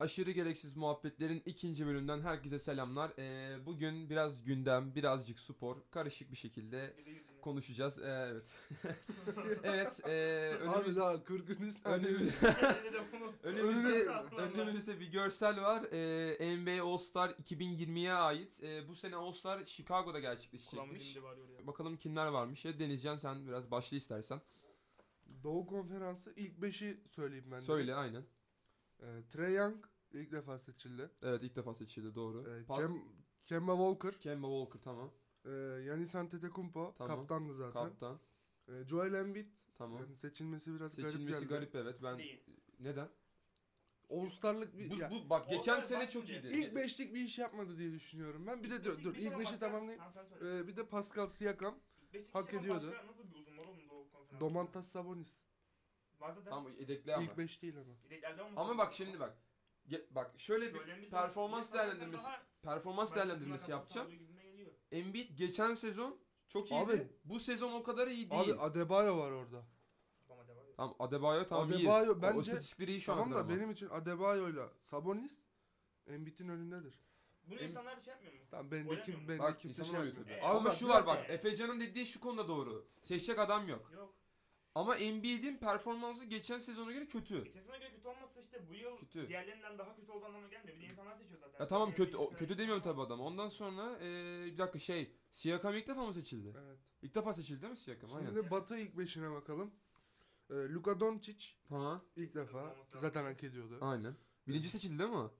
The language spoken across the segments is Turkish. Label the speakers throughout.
Speaker 1: Aşırı gereksiz muhabbetlerin ikinci bölümünden herkese selamlar. Ee, bugün biraz gündem, birazcık spor, karışık bir şekilde konuşacağız. Ee, evet. evet. E,
Speaker 2: Abi
Speaker 1: önümüz,
Speaker 2: daha 40. saniye.
Speaker 1: önümüz- önümüzde, önümüzde bir görsel var. Ee, NBA All Star 2020'ye ait. Ee, bu sene All Star Chicago'da gerçekleşecekmiş. Bakalım kimler varmış. Ya Denizcan sen biraz başla istersen.
Speaker 2: Doğu Konferansı ilk 5'i söyleyeyim ben. de.
Speaker 1: Söyle aynen.
Speaker 2: Ee, Trae Young ilk defa seçildi.
Speaker 1: Evet ilk defa seçildi doğru.
Speaker 2: Ee,
Speaker 1: Pa-
Speaker 2: Kem- Kemba Walker,
Speaker 1: Kemba Walker tamam.
Speaker 2: ee, Yanis Antetokounmpo
Speaker 1: Tamam.
Speaker 2: kaptandı zaten.
Speaker 1: Kaptan.
Speaker 2: Ee, Joel Embiid
Speaker 1: Tamam.
Speaker 2: yani seçilmesi biraz garip
Speaker 1: Seçilmesi
Speaker 2: geldi.
Speaker 1: garip, evet ben neden?
Speaker 2: All-Star'lık bir
Speaker 1: Bu,
Speaker 2: ya,
Speaker 1: bu bak geçen
Speaker 3: Onlar
Speaker 1: sene
Speaker 3: bak
Speaker 1: çok
Speaker 3: şimdi.
Speaker 1: iyiydi.
Speaker 2: ilk 5'lik bir iş yapmadı diye düşünüyorum ben. Bir de dur, dur ilk 5'i tamamlayayım. Ee, bir de Pascal Siakam, Hak ediyordu.
Speaker 3: Nasıl bir uzun var oğlum Doğu konferansı?
Speaker 2: Domantas Sabonis.
Speaker 3: Bazen de-
Speaker 1: Tamam yedekle ama.
Speaker 2: İlk 5 değil ama.
Speaker 3: Bir de ileride olmasa-
Speaker 1: Ama bak şimdi bak. Ge- bak şöyle bir
Speaker 3: Söylenmiş-
Speaker 1: performans
Speaker 3: Yine
Speaker 1: değerlendirmesi-
Speaker 3: daha-
Speaker 1: performans
Speaker 3: Ben
Speaker 1: değerlendirmesi
Speaker 3: takımdan
Speaker 1: yapacağım.
Speaker 3: kafasına alıyor gibime geliyor.
Speaker 1: Embiid geçen sezon çok iyiydi.
Speaker 2: Abi.
Speaker 1: Bu sezon o kadar iyi değil.
Speaker 2: Abi Adebayo var orada.
Speaker 3: Ama devam ediyor.
Speaker 1: tamam Adebayo tamam iyi.
Speaker 2: Adebayo
Speaker 1: O-
Speaker 2: bence-
Speaker 1: o istatistikleri iyi şu an
Speaker 2: Tamam
Speaker 1: kadar
Speaker 2: da
Speaker 1: ama.
Speaker 2: benim için Adebayo'yla Sabonis Embiid'in önündedir.
Speaker 3: Bunu
Speaker 1: Em-
Speaker 3: insanlar şey yapmıyor mu?
Speaker 2: Tamam
Speaker 3: Oynamıyor
Speaker 2: bendeki
Speaker 3: mu?
Speaker 2: bendeki
Speaker 1: Bak
Speaker 2: kimse
Speaker 1: insanlar
Speaker 2: şey
Speaker 1: oluyor
Speaker 2: yapmıyor.
Speaker 1: tabii.
Speaker 3: Evet.
Speaker 2: Al
Speaker 1: Ama
Speaker 2: bak,
Speaker 1: şu
Speaker 2: bir
Speaker 1: var
Speaker 2: dakika.
Speaker 1: bak Efecan'ın dediği şu konuda doğru. Seçecek adam yok.
Speaker 3: Yok.
Speaker 1: Ama Embiid'in performansı geçen sezona göre kötü.
Speaker 3: Geçen sene göre kötü olmasa işte bu yıl
Speaker 1: Kötü.
Speaker 3: diğerlerinden daha kötü olduğu anlamına gelmiyor. Bir de insanlar seçiyor zaten.
Speaker 1: Ya tamam
Speaker 3: Yani
Speaker 1: kötü o-
Speaker 3: birisi-
Speaker 1: kötü demiyorum tabii adam. Ondan sonra ee, bir dakika şey Siakam ilk defa mı seçildi?
Speaker 2: Evet.
Speaker 1: İlk defa seçildi değil mi Siakam?
Speaker 2: Şimdi
Speaker 1: Aynen.
Speaker 2: de Batı ilk beşine bakalım. Ee, Luka Doncic
Speaker 1: Tamam.
Speaker 2: ilk defa
Speaker 3: Olması
Speaker 2: zaten
Speaker 3: lazım.
Speaker 2: hak ediyordu.
Speaker 1: Aynen. Birinci seçildi değil mi? o?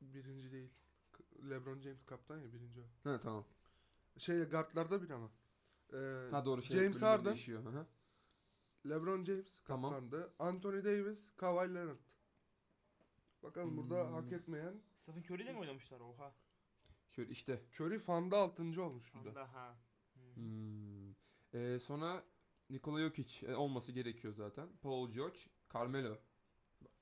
Speaker 2: Birinci değil. K- LeBron James kaptan ya birinci o.
Speaker 1: He tamam.
Speaker 2: Şey guardlarda bir ama. Ee,
Speaker 1: Ha doğru şey.
Speaker 2: James
Speaker 1: bölümleri
Speaker 2: Harden.
Speaker 1: değişiyor, hı hı.
Speaker 2: LeBron James
Speaker 1: Tamam.
Speaker 2: kaptandı. Anthony Davis, Kawhi Leonard. Bakalım burada
Speaker 1: Hmm.
Speaker 2: hak etmeyen.
Speaker 3: Stephen Curry'le mi oynamışlar oha?
Speaker 1: Şöyle işte.
Speaker 2: Curry fanda altıncı olmuş bir de.
Speaker 3: Allah ha. Hmm.
Speaker 1: Hmm. Ee, sonra Nikola Jokic e, olması gerekiyor zaten. Paul George, Carmelo.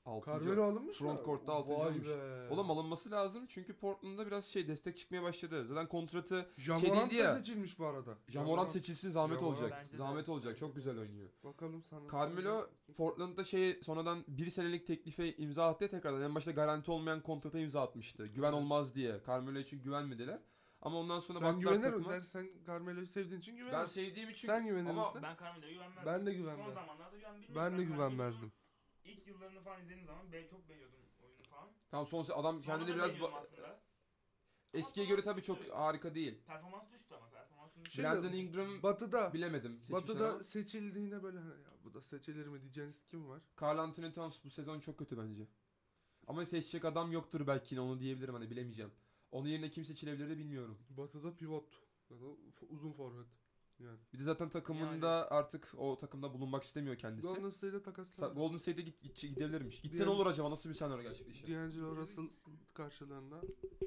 Speaker 1: Altıncı.
Speaker 2: Carmelo alınmış
Speaker 1: Front
Speaker 2: mı?
Speaker 1: court'ta altıncı
Speaker 2: Vay
Speaker 1: olmuş.
Speaker 2: be.
Speaker 1: Oğlum alınması lazım çünkü Portland'da biraz şey destek çıkmaya başladı. Zaten kontratı
Speaker 2: Jamorant
Speaker 1: çedildi şey ya.
Speaker 2: da seçilmiş bu arada.
Speaker 1: Jamorant seçilsin zahmet
Speaker 2: Jamorant
Speaker 1: olacak.
Speaker 3: bence de.
Speaker 1: Zahmet olacak. Çok güzel oynuyor.
Speaker 2: Bakalım sana.
Speaker 1: Carmelo Portland'da şey sonradan bir senelik teklife imza attı ya tekrardan. En başta garanti olmayan kontrata imza atmıştı. Güven
Speaker 2: Evet.
Speaker 1: olmaz diye. Carmelo için güvenmediler. Ama ondan sonra
Speaker 2: sen
Speaker 1: baktılar
Speaker 2: güvenir
Speaker 1: takıma.
Speaker 2: misin? Sen Carmelo'yu sevdiğin için güvenir
Speaker 1: Ben
Speaker 2: misin?
Speaker 1: sevdiğim için
Speaker 2: Sen güvenir
Speaker 1: ama
Speaker 2: misin?
Speaker 3: Ben Carmelo'ya güvenmezdim.
Speaker 2: Ben de
Speaker 3: Son
Speaker 2: güvenmezdim.
Speaker 3: zamanlarda güvenmiyordum.
Speaker 2: Ben de güvenmezdim.
Speaker 3: İlk yıllarını falan izlediğim zaman ben çok beğeniyordum oyunu falan.
Speaker 1: Tam son se- adam
Speaker 3: Sonra
Speaker 1: kendini
Speaker 3: da
Speaker 1: biraz
Speaker 3: beğeniyorum
Speaker 1: ba-
Speaker 3: aslında. Şey-
Speaker 1: eskiye
Speaker 3: Ama
Speaker 1: göre tabii çok
Speaker 3: düştü.
Speaker 1: harika değil.
Speaker 3: Performans düştü ama performansını
Speaker 2: Şey-
Speaker 1: Brandon Ingram
Speaker 2: Batı'da
Speaker 1: bilemedim seçmişler
Speaker 2: Batı'da
Speaker 1: ama.
Speaker 2: seçildiğinde böyle hani ya bu da seçilir mi diyeceğiniz kim var?
Speaker 1: Carl Anthony Towns bu sezon çok kötü bence. Ama seçecek adam yoktur belki yine onu diyebilirim hani bilemeyeceğim. Onun yerine kim seçilebilir de bilmiyorum.
Speaker 2: Batı'da pivot ya da f- uzun forvet. Yani.
Speaker 1: Bir de zaten takımında artık o takımda bulunmak istemiyor kendisi.
Speaker 2: Golden State'e
Speaker 1: Ta-
Speaker 2: takaslandı.
Speaker 1: Golden State'e git, git, gidebilirmiş. Gitsen
Speaker 2: Diğer-
Speaker 1: olur acaba nasıl bir senaryo gerçekleşir?
Speaker 2: D'Angelo Russell karşılığında.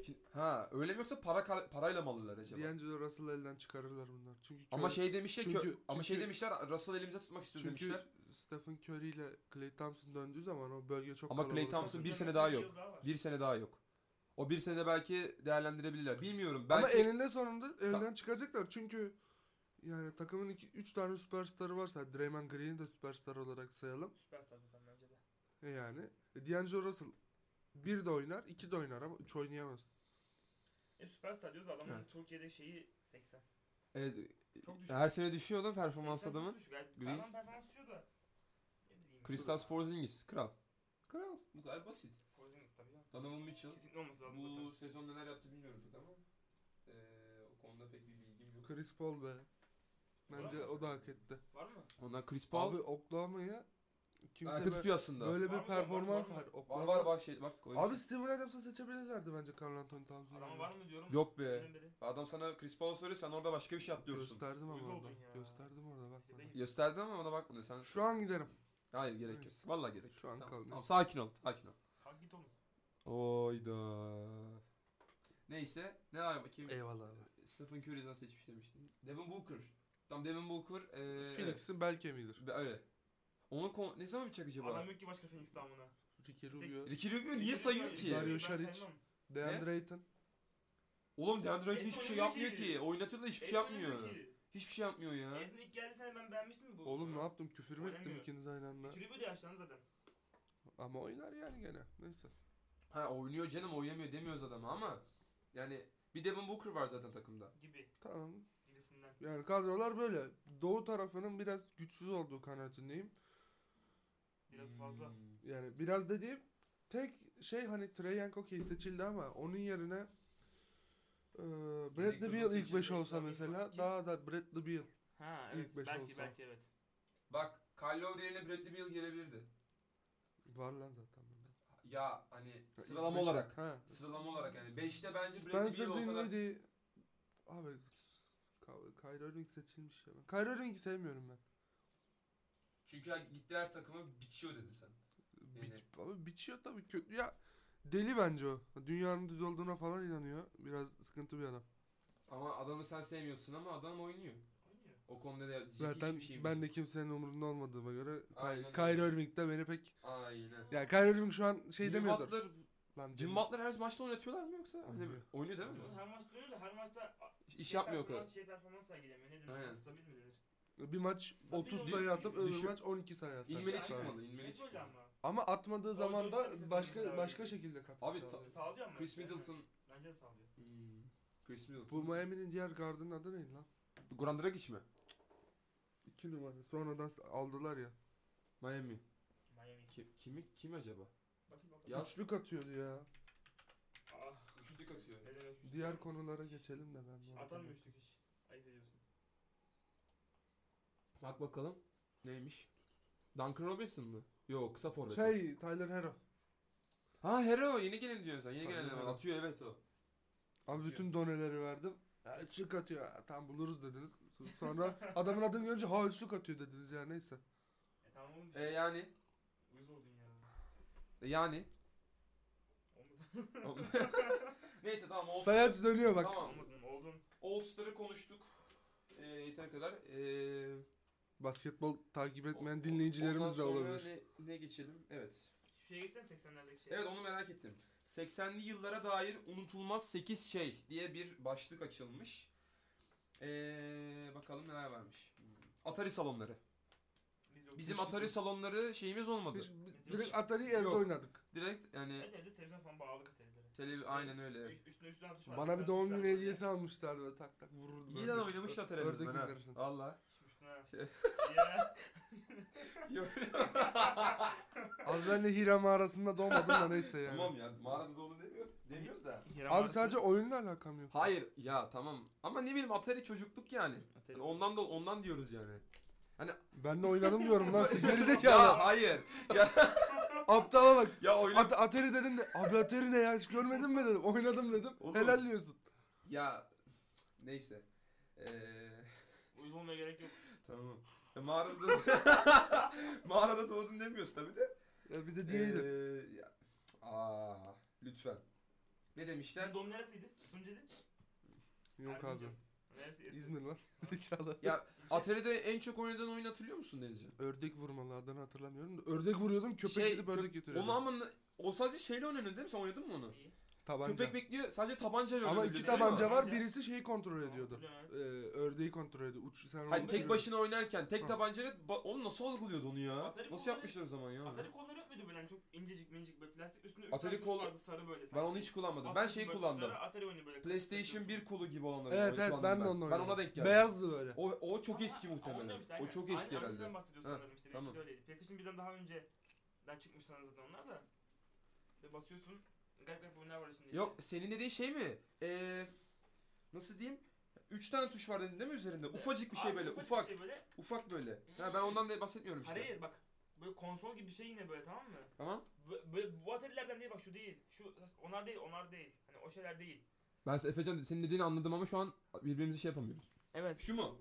Speaker 1: Şimdi- ha öyle mi yoksa para kar- parayla mı alırlar acaba?
Speaker 2: D'Angelo Russell'ı elden çıkarırlar bunlar. Çünkü
Speaker 1: ama şey demiş ya kö-
Speaker 2: Çünkü-
Speaker 1: ama şey
Speaker 2: çünkü-
Speaker 1: demişler Russell elimize tutmak istiyoruz
Speaker 2: çünkü
Speaker 1: demişler.
Speaker 2: Stephen Curry ile Klay Thompson döndüğü zaman o bölge çok
Speaker 1: Ama Klay
Speaker 2: kalabalık.
Speaker 1: Thompson bir sene daha yok. Bir sene daha yok. O bir sene belki değerlendirebilirler. Bilmiyorum. Belki
Speaker 2: Ama elinde sonunda elden çıkacaklar çünkü yani takımın 3 tane süperstarı varsa Draymond Green'i de süperstar olarak sayalım.
Speaker 3: Süperstar zaten bence de.
Speaker 2: E Yani e, D'Angelo Russell bir de oynar, iki de oynar ama üç oynayamaz.
Speaker 3: E süperstar diyoruz adamın
Speaker 1: Evet.
Speaker 3: Türkiye'de şeyi 80.
Speaker 1: Evet,
Speaker 3: Çok düşük.
Speaker 1: her sene düşüyor lan performans
Speaker 3: 80 çok
Speaker 1: adamın.
Speaker 3: düşük. Yani
Speaker 1: Green.
Speaker 3: Adam performans düşüyor da. Ne bileyim.
Speaker 1: Kristaps Porzingis kral. Kral. Bu kadar basit.
Speaker 3: Porzingis tabii canım.
Speaker 1: Donovan Mitchell.
Speaker 3: Kesinlikle olması lazım
Speaker 1: Bu
Speaker 3: zaten.
Speaker 1: sezon neler yaptı bilmiyorum pek ama. Ee, o konuda pek bir bilgim yok.
Speaker 2: Chris Paul be. Bence o da hak etti.
Speaker 3: Var mı?
Speaker 1: Ondan Chris
Speaker 2: Abi
Speaker 1: Paul. Oklahoma'ya kimse Kimse
Speaker 2: böyle-
Speaker 1: tutuyor aslında.
Speaker 2: böyle
Speaker 3: Var
Speaker 2: bir
Speaker 3: mı?
Speaker 2: performans
Speaker 3: Var mı?
Speaker 2: var.
Speaker 1: Var
Speaker 2: Oklahoma.
Speaker 1: var var şey bak. oyuncu.
Speaker 2: Abi Steven Adams'ı seçebilirlerdi bence Carl Anthony Towns'u.
Speaker 3: Adamı var mı diyorum.
Speaker 1: Yok be.
Speaker 3: Dönem beri.
Speaker 1: Adam sana Chris Paul soruyor sen orada başka bir şey atlıyorsun.
Speaker 2: Gösterdim
Speaker 3: Uyuz
Speaker 2: ama orada.
Speaker 3: oldun ya. Şey
Speaker 2: Gösterdim orada bak bana.
Speaker 1: Gösterdi ama ona bakmadın sen.
Speaker 2: Şu an giderim.
Speaker 1: Hayır gerek yok.
Speaker 2: Neyse.
Speaker 1: Vallahi gerek yok.
Speaker 2: Şu an
Speaker 1: Tamam,
Speaker 2: kaldı.
Speaker 1: tamam, sakin ol. Sakin ol.
Speaker 3: Kalk git oğlum.
Speaker 1: Oyda. Neyse ne var bakayım.
Speaker 2: Eyvallah abi.
Speaker 1: Stephen Curry'den seçmiş demiştin. Devin Booker. Tam Devin Booker.
Speaker 3: Ee,
Speaker 1: eee
Speaker 2: Phoenix'in bel kemiğidir.
Speaker 1: be- öyle. Onu kon- ne zaman bitecek acaba?
Speaker 3: Adam yok ki başka Phoenix damına.
Speaker 2: Ricky Rubio,
Speaker 1: Ricky Rubio niye sayıyor ki?
Speaker 2: Dario Saric. DeAndre Ayton.
Speaker 1: Oğlum DeAndre Ayton hiçbir şey
Speaker 3: Ayton
Speaker 1: yapmıyor
Speaker 3: yok ki.
Speaker 1: ki. Oynatıyor da
Speaker 3: E,
Speaker 1: hiçbir şey yapmıyor. Hiçbir şey yapmıyor ya.
Speaker 3: Ezin ilk geldiği sene ben beğenmiştim bu.
Speaker 2: Oğlum ne yaptım? Küfür mü ettim
Speaker 3: Oynamıyor.
Speaker 2: ikiniz aynı anda?
Speaker 3: Tribü de yaşlandı zaten.
Speaker 2: Ama oynar yani gene. Neyse.
Speaker 1: Ha oynuyor canım oynamıyor demiyoruz adama ama yani bir Devin Booker var zaten takımda.
Speaker 3: Gibi.
Speaker 2: Tamam.
Speaker 3: Gibisinden.
Speaker 2: Yani kadrolar böyle. Doğu tarafının biraz güçsüz olduğu kanaatindeyim.
Speaker 3: Biraz fazla.
Speaker 1: Hmm.
Speaker 2: Yani biraz dediğim tek şey hani Trey Young okey seçildi ama onun yerine e, Bradley
Speaker 1: Direkt
Speaker 2: Beal
Speaker 1: Durant
Speaker 2: ilk 5
Speaker 1: seçildi.
Speaker 2: olsa
Speaker 3: Tabii,
Speaker 2: mesela
Speaker 3: kim?
Speaker 2: daha da Bradley Beal.
Speaker 3: Ha
Speaker 2: İlk
Speaker 3: evet
Speaker 2: beş
Speaker 3: belki
Speaker 2: olsa.
Speaker 3: belki evet.
Speaker 1: Bak Kyle Lowry yerine Bradley Beal gelebilirdi.
Speaker 2: Var lan zaten. bunda.
Speaker 1: Ya hani
Speaker 2: Ya ilk
Speaker 1: sıralama
Speaker 2: beşe-
Speaker 1: olarak.
Speaker 2: Ha.
Speaker 1: Sıralama olarak yani 5'te bence Bradley
Speaker 2: Spencer
Speaker 1: Beal olsa da
Speaker 2: Dinwiddie. Abi Ka- Kyrie Irving seçilmiş ya. Ben Kyrie Irving'i sevmiyorum ben.
Speaker 1: çünkü ha- gitti her takımı biçiyor dedin sen.
Speaker 2: Bi-
Speaker 1: Yani-
Speaker 2: Abi biçiyor tabii kötü ya. Deli bence o. Dünyanın düz olduğuna falan inanıyor. Biraz sıkıntı bir adam.
Speaker 1: Ama adamı sen sevmiyorsun ama adam oynuyor.
Speaker 3: Oynuyor.
Speaker 1: O konuda da diyecek
Speaker 2: Zaten
Speaker 1: hiçbir şeyim
Speaker 2: ben
Speaker 1: yok.
Speaker 2: de kimsenin umurunda olmadığıma göre
Speaker 1: Aynen
Speaker 2: Ky-
Speaker 1: öyle.
Speaker 2: Kyrie Irving de beni pek...
Speaker 1: Aynen.
Speaker 2: Yani Kyrie Irving şu an şey
Speaker 1: Jimmy
Speaker 2: demiyordur.
Speaker 1: Butler,
Speaker 2: Lan
Speaker 1: Jimmy
Speaker 2: deli.
Speaker 1: Butler her maçta oynatıyorlar mı yoksa? Hani
Speaker 2: Oynuyor.
Speaker 1: oynuyor değil mi?
Speaker 3: Ama Her maçta öyle her maçta a-
Speaker 1: İş
Speaker 3: şey
Speaker 1: yapmıyor o kadar.
Speaker 3: performans- Şey performans sergilemiyor. Ne denir?
Speaker 1: Aynen.
Speaker 3: ona? Stabil mi denir?
Speaker 2: Bir maç
Speaker 3: Stabil
Speaker 2: 30
Speaker 3: oynuyor.
Speaker 2: sayı atıp öbür
Speaker 1: Düşün-
Speaker 2: maç 12 sayı atar.
Speaker 1: İlmeli
Speaker 2: Yani-
Speaker 1: çıkmalı, ilmeli
Speaker 3: Hep öyle
Speaker 1: çıkmalı.
Speaker 3: ama.
Speaker 2: Ama atmadığı zaman
Speaker 3: Oyuncu
Speaker 2: da
Speaker 3: istersen
Speaker 2: başka
Speaker 3: Spencer
Speaker 2: başka
Speaker 3: Dinwiddie.
Speaker 2: şekilde katkısı
Speaker 1: Abi
Speaker 2: var.
Speaker 1: ta-
Speaker 3: Sağlıyor ama.
Speaker 1: Chris
Speaker 3: işte,
Speaker 1: Middleton.
Speaker 3: evet. Bence de sağlıyor.
Speaker 1: Hmm, Chris Middleton.
Speaker 2: Bu Miami'nin diğer gardının adı neydi lan?
Speaker 1: Goran Dragic mi?
Speaker 2: 2 numara. Sonradan aldılar ya.
Speaker 1: Miami.
Speaker 3: Miami.
Speaker 1: Kim, kimi, kim acaba?
Speaker 3: Bakın bakalım.
Speaker 1: Ya-
Speaker 2: Üçlük atıyordu ya.
Speaker 3: Ah.
Speaker 1: Üçlük atıyor.
Speaker 3: Ne demek üçlük?
Speaker 2: Diğer konulara geçelim de ben. bu
Speaker 3: Atamıyor
Speaker 2: arada.
Speaker 3: üçlük hiç. Ayıp ediyorsun.
Speaker 1: Bak bakalım. Neymiş? Duncan Robinson mı? Yok kısa forvet.
Speaker 2: Şey Tyler Hero.
Speaker 1: Ha Hero yeni gelen diyorsun sen. Yeni
Speaker 2: Aynen
Speaker 1: gelen
Speaker 2: öyle.
Speaker 1: atıyor evet o.
Speaker 2: Abi bütün doneleri verdim. Ya, Üçlük atıyor. Ya, Tam buluruz dediniz. Sonra adamın adını görünce ha üçlük atıyor dediniz ya neyse.
Speaker 3: E tamam oğlum.
Speaker 1: E yani
Speaker 3: Uyuz oldun ya.
Speaker 1: e, yani.
Speaker 3: Olmadı.
Speaker 1: Neyse tamam All,
Speaker 2: Sayaç dönüyor bak.
Speaker 1: Tamam.
Speaker 3: Olmadın. Oldun.
Speaker 1: All Star'ı konuştuk. E, yeter kadar. E,
Speaker 2: Basketbol takip etmeyen
Speaker 1: o-
Speaker 2: dinleyicilerimiz de
Speaker 1: ondan sonra
Speaker 2: olabilir.
Speaker 1: Ne, ne geçelim? Evet.
Speaker 3: Şu şeye geçsen 80'lerdeki şey.
Speaker 1: Evet onu merak ettim. 80'li yıllara dair unutulmaz 8 şey diye bir başlık açılmış. Ee, bakalım neler varmış. Atari salonları.
Speaker 3: Biz yok.
Speaker 1: Bizim Atari salonları şeyimiz olmadı.
Speaker 2: Biz, biz
Speaker 3: Hiç-
Speaker 2: direkt Atari'yi evde
Speaker 1: Yok.
Speaker 2: oynadık.
Speaker 1: Direkt yani
Speaker 3: Evet evde televizyon falan bağlı katelilere.
Speaker 1: televi aynen öyle.
Speaker 3: Üç, üstüne üstüne atış var.
Speaker 2: Bana bir
Speaker 3: Üstüne
Speaker 2: doğum
Speaker 3: atış
Speaker 2: günü
Speaker 3: var.
Speaker 2: hediyesi almışlardı böyle tak tak vururdu.
Speaker 1: İyi lan oynamış Atari
Speaker 2: Ördek
Speaker 1: ha.
Speaker 2: indirirsin.
Speaker 1: Valla.
Speaker 3: Şimdi üstüne. Ya.
Speaker 2: Abi ben de Hira mağarasında doğmadım da neyse yani.
Speaker 1: tamam ya mağarada dolu demiyor, demiyoruz da.
Speaker 2: Abi sadece oyunla alakam yok.
Speaker 1: Hayır ya tamam ama ne bileyim Atari çocukluk yani.
Speaker 3: Atari.
Speaker 1: Yani ondan da ondan diyoruz yani.
Speaker 2: Ben de oynadım diyorum lan siz gerizekalı.
Speaker 1: ya hayır.
Speaker 2: Aptala bak.
Speaker 1: Ya oyna
Speaker 2: At Atari dedin de abi Atari ne ya hiç görmedin mi dedim. Oynadım dedim.
Speaker 1: Oğlum.
Speaker 2: Helal diyorsun.
Speaker 1: Ya neyse. Ee,
Speaker 3: Uyuz olmaya gerek yok.
Speaker 1: Tamam. E, mağarada mağarada doğdun demiyoruz tabii de.
Speaker 2: Ya bir de diyeydi.
Speaker 1: Ee, ya- aa, lütfen. Ne demişler?
Speaker 3: Sen doğum neresiydi? Tunceli?
Speaker 2: yok abi.
Speaker 3: Erzincan. Neresi? Eski.
Speaker 2: İzmir lan. Zekalı.
Speaker 1: Ya
Speaker 3: İlçe.
Speaker 1: Atari'de en çok oynadığın oyun hatırlıyor musun Denizcan?
Speaker 2: Ördek vurmalı adını hatırlamıyorum da. Ördek vuruyordum köpek
Speaker 1: Şey,
Speaker 2: gidip ördek
Speaker 1: Onu
Speaker 2: götürüyordu.
Speaker 1: ama ne- o sadece şeyle oynanıyor değil mi? Sen oynadın mı onu?
Speaker 3: İyi.
Speaker 2: Tabanca.
Speaker 1: Köpek bekliyor. Sadece tabancayla
Speaker 2: ama
Speaker 1: oynanıyor.
Speaker 2: iki
Speaker 1: değil mi?
Speaker 2: tabanca var.
Speaker 3: Tabanca.
Speaker 2: Birisi şeyi kontrol
Speaker 3: Tamam,
Speaker 2: ediyordu.
Speaker 3: hatırlıyorum,
Speaker 2: Ee,
Speaker 3: evet.
Speaker 2: ördeği kontrol ediyordu. Uç, sen
Speaker 1: Hayır
Speaker 2: onu
Speaker 1: Hani tek
Speaker 2: uçuruyordun.
Speaker 1: başına oynarken tek
Speaker 2: Hı.
Speaker 1: tabancayla ba- onu nasıl algılıyordu onu ya?
Speaker 3: Atari
Speaker 1: nasıl
Speaker 3: kolları-
Speaker 1: yapmışlar o zaman ya? onu?
Speaker 3: Atari kolları yok muydu böyle hani çok incecik minicik böyle plastik üstünde üç
Speaker 1: Atari
Speaker 3: tane kuş
Speaker 1: kol-
Speaker 3: vardı sarı böyle
Speaker 1: Ben
Speaker 3: sanki.
Speaker 1: onu hiç kullanmadım. Ben
Speaker 3: Bastık
Speaker 1: şeyi
Speaker 3: böyle
Speaker 1: kullandım.
Speaker 3: tuşlara, Atari oyunu böyle
Speaker 1: PlayStation 1 kolu gibi olanları
Speaker 2: Evet evet
Speaker 1: kullandım
Speaker 2: ben de onu oynadım.
Speaker 1: Ben ona denk geldim.
Speaker 2: Beyazdı böyle.
Speaker 1: O, o çok eski
Speaker 3: Ama- ama
Speaker 1: muhtemelen.
Speaker 3: ondan işte,
Speaker 1: O
Speaker 3: aynen.
Speaker 1: çok eski
Speaker 3: Aynı-
Speaker 1: herhalde.
Speaker 3: Aynısından bahsediyorsun
Speaker 1: Ha,
Speaker 3: sanırım işte.
Speaker 1: tamam.
Speaker 3: Tamam. De öyleydi. PlayStation 1'den daha önceden çıkmış sanırım zaten onlar da. Ve basıyorsun. Garip garip oyunlar var içinde.
Speaker 1: Yok senin dediğin şey mi? Ee, nasıl diyeyim? Üç tane tuş var dedin değil mi üzerinde? Ufacık bir şey böyle ufak.
Speaker 3: Şey böyle.
Speaker 1: Ufak böyle. Ha, ben ondan da bahsetmiyorum işte.
Speaker 3: Hayır bak. Böyle konsol gibi bir şey yine böyle tamam mı?
Speaker 1: Tamam.
Speaker 3: Bö- Böyle bu atarilerden değil bak şu değil. Şu onlar değil onlar değil. Hani o şeyler değil.
Speaker 1: Ben Efecan senin dediğini anladım ama şu an birbirimizi şey yapamıyoruz.
Speaker 3: Evet.
Speaker 1: Şu mu?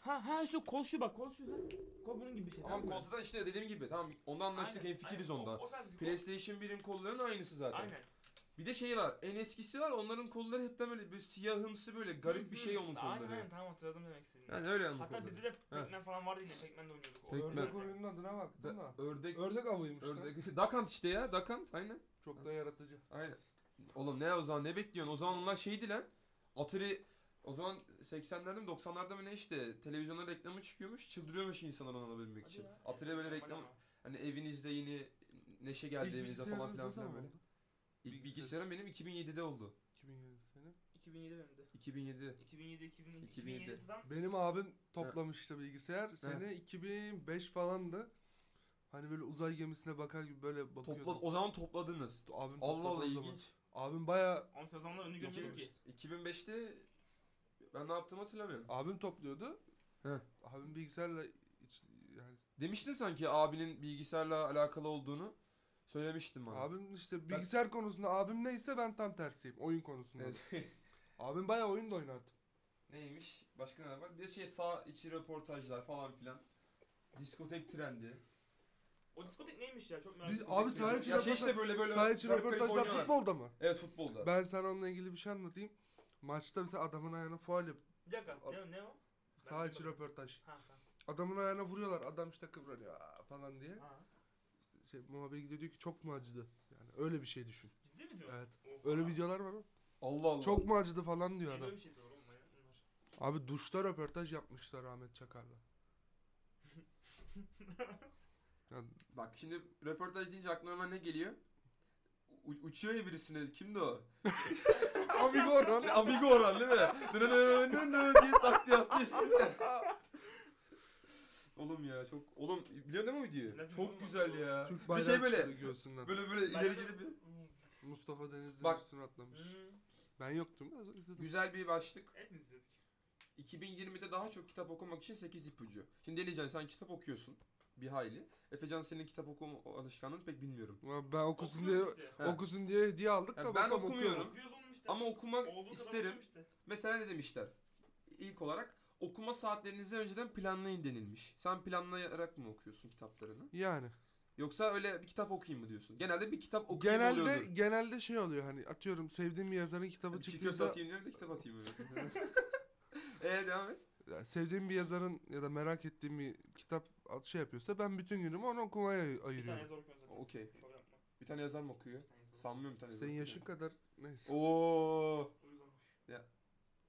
Speaker 3: Ha ha şu kol şu bak kol şu. Ha. Kol bunun gibi bir şey.
Speaker 1: Tamam konsoldan işte dediğim gibi. Tamam onda anlaştık hem fikiriz onda. PlayStation 1'in kollarının aynısı zaten.
Speaker 3: Aynen.
Speaker 1: Bir de şeyi var. En eskisi var. Onların kolları hep de böyle bir siyahımsı böyle garip bir şey onun
Speaker 3: Aynen
Speaker 1: kolları.
Speaker 3: aynen tamam hatırladım demek istediğini.
Speaker 1: Yani öyle anladım.
Speaker 3: Hatta bizde de Pac-Man falan vardı yine Pac-Man'de oynuyorduk. O
Speaker 1: Pac-Man.
Speaker 2: Ördek
Speaker 3: oyunlarda.
Speaker 2: oyunun adına baktım da.
Speaker 1: ördek
Speaker 2: Ördek avıymış lan.
Speaker 1: ördek Duck Hunt işte ya. Duck Hunt aynen.
Speaker 2: Çok da yaratıcı.
Speaker 1: Aynen. Oğlum ne o zaman ne bekliyorsun? O zaman onlar şeydi lan. Atari o zaman 80'lerde mi 90'larda mı ne işte televizyonda reklamı çıkıyormuş. Çıldırıyormuş insanlar onu alabilmek
Speaker 3: Hadi
Speaker 1: için.
Speaker 3: ya.
Speaker 1: Atari böyle
Speaker 3: Normal
Speaker 1: reklam
Speaker 3: ama.
Speaker 1: hani evinizde yeni neşe geldiğimizde
Speaker 2: Hiç
Speaker 1: falan filan
Speaker 2: bilgisayarınızda
Speaker 1: filan
Speaker 2: mı
Speaker 1: böyle.
Speaker 2: oldu?
Speaker 1: İlk
Speaker 2: Bilgisayar.
Speaker 1: bilgisayarım benim 2007'de oldu.
Speaker 2: 2007 senin.
Speaker 3: 2007 benim de.
Speaker 1: 2007.
Speaker 3: 2007, 2007,
Speaker 1: 2007.
Speaker 3: 2007'den
Speaker 2: Benim abim toplamıştı bilgisayar. Sene 2005 falandı. Hani böyle uzay gemisine bakar gibi böyle bakıyordu.
Speaker 1: Topla, o zaman topladınız.
Speaker 2: Abim
Speaker 1: Allah
Speaker 2: topladı
Speaker 1: Allah
Speaker 2: o zaman.
Speaker 1: ilginç.
Speaker 2: Abim baya
Speaker 3: ama sen o zamanlar önü görmüyordun ki.
Speaker 1: 2005'te ben ne yaptığımı hatırlamıyorum.
Speaker 2: abim topluyordu.
Speaker 1: Heh.
Speaker 2: Abim bilgisayarla iç- yani
Speaker 1: Demiştin sanki abinin bilgisayarla alakalı olduğunu. Söylemiştin bana.
Speaker 2: abim işte bilgisayar konusunda abim neyse ben tam tersiyim oyun konusunda.
Speaker 1: Evet.
Speaker 2: Abim baya oyun da oynardı.
Speaker 1: Neymiş? Başka neler var? Bir de şey sağ içi röportajlar falan filan. Diskotek trendi.
Speaker 3: O diskotek neymiş ya çok merak
Speaker 2: Biz-
Speaker 3: ettim.
Speaker 2: abi sahi-
Speaker 1: ya şey işte böyle böyle.
Speaker 2: Saha içi
Speaker 1: garip garip
Speaker 2: röportajlar
Speaker 1: oynuyorlar.
Speaker 2: futbolda mı?
Speaker 1: Evet futbolda.
Speaker 2: Ben sana onunla ilgili bir şey anlatayım. Maçta mesela adamın ayağına faul yap.
Speaker 3: Bir dakika
Speaker 1: şey-
Speaker 3: ne, ne o? Ben
Speaker 2: Saha içi
Speaker 3: bilmiyorum.
Speaker 2: röportaj.
Speaker 3: Ha ha.
Speaker 2: Adamın ayağına vuruyorlar. Adam işte kıvranıyor "Aa!" falan diye.
Speaker 3: ha.
Speaker 2: Şey, muhabir gidiyor diyor ki çok mu acıdı? Yani öyle bir şey düşün.
Speaker 3: Ciddi mi diyorsun?
Speaker 2: Evet.
Speaker 3: Oha.
Speaker 2: Öyle videolar var. ama.
Speaker 1: Allah Allah.
Speaker 2: Çok mu acıdı falan diyor
Speaker 3: Yeni
Speaker 2: adam.
Speaker 3: bir şey diyor oğlum ya bunlar.
Speaker 2: Abi duşta röportaj yapmışlar Ahmet Çakar'la. ya,
Speaker 1: Bak şimdi röportaj deyince aklıma hemen ne geliyor? U- uçuyor ya birisine. Kimdi o?
Speaker 2: amigo lan.
Speaker 1: Amigo Orhan değil mi? Nı nı nı diye taktiği attı üstüne. Oğlum ya çok... Oğlum biliyor değil mi o videoyu?
Speaker 3: Ne
Speaker 1: Çok güzel ya.
Speaker 2: Türk
Speaker 1: Bir
Speaker 2: bayrağı
Speaker 1: şey böyle.
Speaker 2: çıkarıyor göğsünden.
Speaker 1: Böyle böyle
Speaker 3: Ben de-
Speaker 1: ileri gidip...
Speaker 2: Mustafa Denizli'nin
Speaker 1: Bak.
Speaker 2: üstüne atlamış.
Speaker 3: Hmm,
Speaker 2: Ben yoktum. da izledim.
Speaker 1: Güzel bir başlık.
Speaker 3: Hepimiz izledik.
Speaker 1: 2020'de daha çok kitap okumak için 8 ipucu. Şimdi Delican sen kitap okuyorsun bir hayli. Efecan senin kitap okuma alışkanlığını pek bilmiyorum.
Speaker 2: Ulan Ben okusun diye
Speaker 3: Okuyoruz işte.
Speaker 1: He.
Speaker 2: okusun diye hediye aldık
Speaker 1: Ya ben
Speaker 2: da bakalım
Speaker 1: okumuyorum.
Speaker 2: okuyor mu?
Speaker 3: Okuyoruz oğlum işte.
Speaker 1: Ama okumak
Speaker 3: Olduğu kadar
Speaker 1: isterim.
Speaker 3: okuyorum işte.
Speaker 1: Mesela ne demişler? İlk olarak okuma saatlerinizi önceden planlayın denilmiş. Sen planlayarak mı okuyorsun kitaplarını?
Speaker 2: Yani.
Speaker 1: Yoksa öyle bir kitap okuyayım mı diyorsun? Genelde bir kitap okuyayım
Speaker 2: genelde
Speaker 1: oluyordur.
Speaker 2: genelde şey oluyor hani atıyorum sevdiğim bir yazarın kitabı
Speaker 1: Yani çikolata
Speaker 2: çıktıysa
Speaker 1: atayım diyorum da kitap atayım öyle. Eee devam et.
Speaker 2: Ya sevdiğim bir yazarın ya da merak ettiğim bir kitap at- şey yapıyorsa ben bütün günümü onu okumaya ay-
Speaker 3: Bir tane
Speaker 2: ayırıyorum.
Speaker 3: zor okuyorum zaten.
Speaker 1: Okey.
Speaker 3: Şov yapma.
Speaker 1: Bir tane yazar mı okuyor?
Speaker 3: Bir tane zor.
Speaker 1: Sanmıyorum bir tane yazar
Speaker 2: Senin
Speaker 1: okuyor.
Speaker 2: yaşın kadar neyse.
Speaker 1: Oo.
Speaker 3: Uyuz olmuş.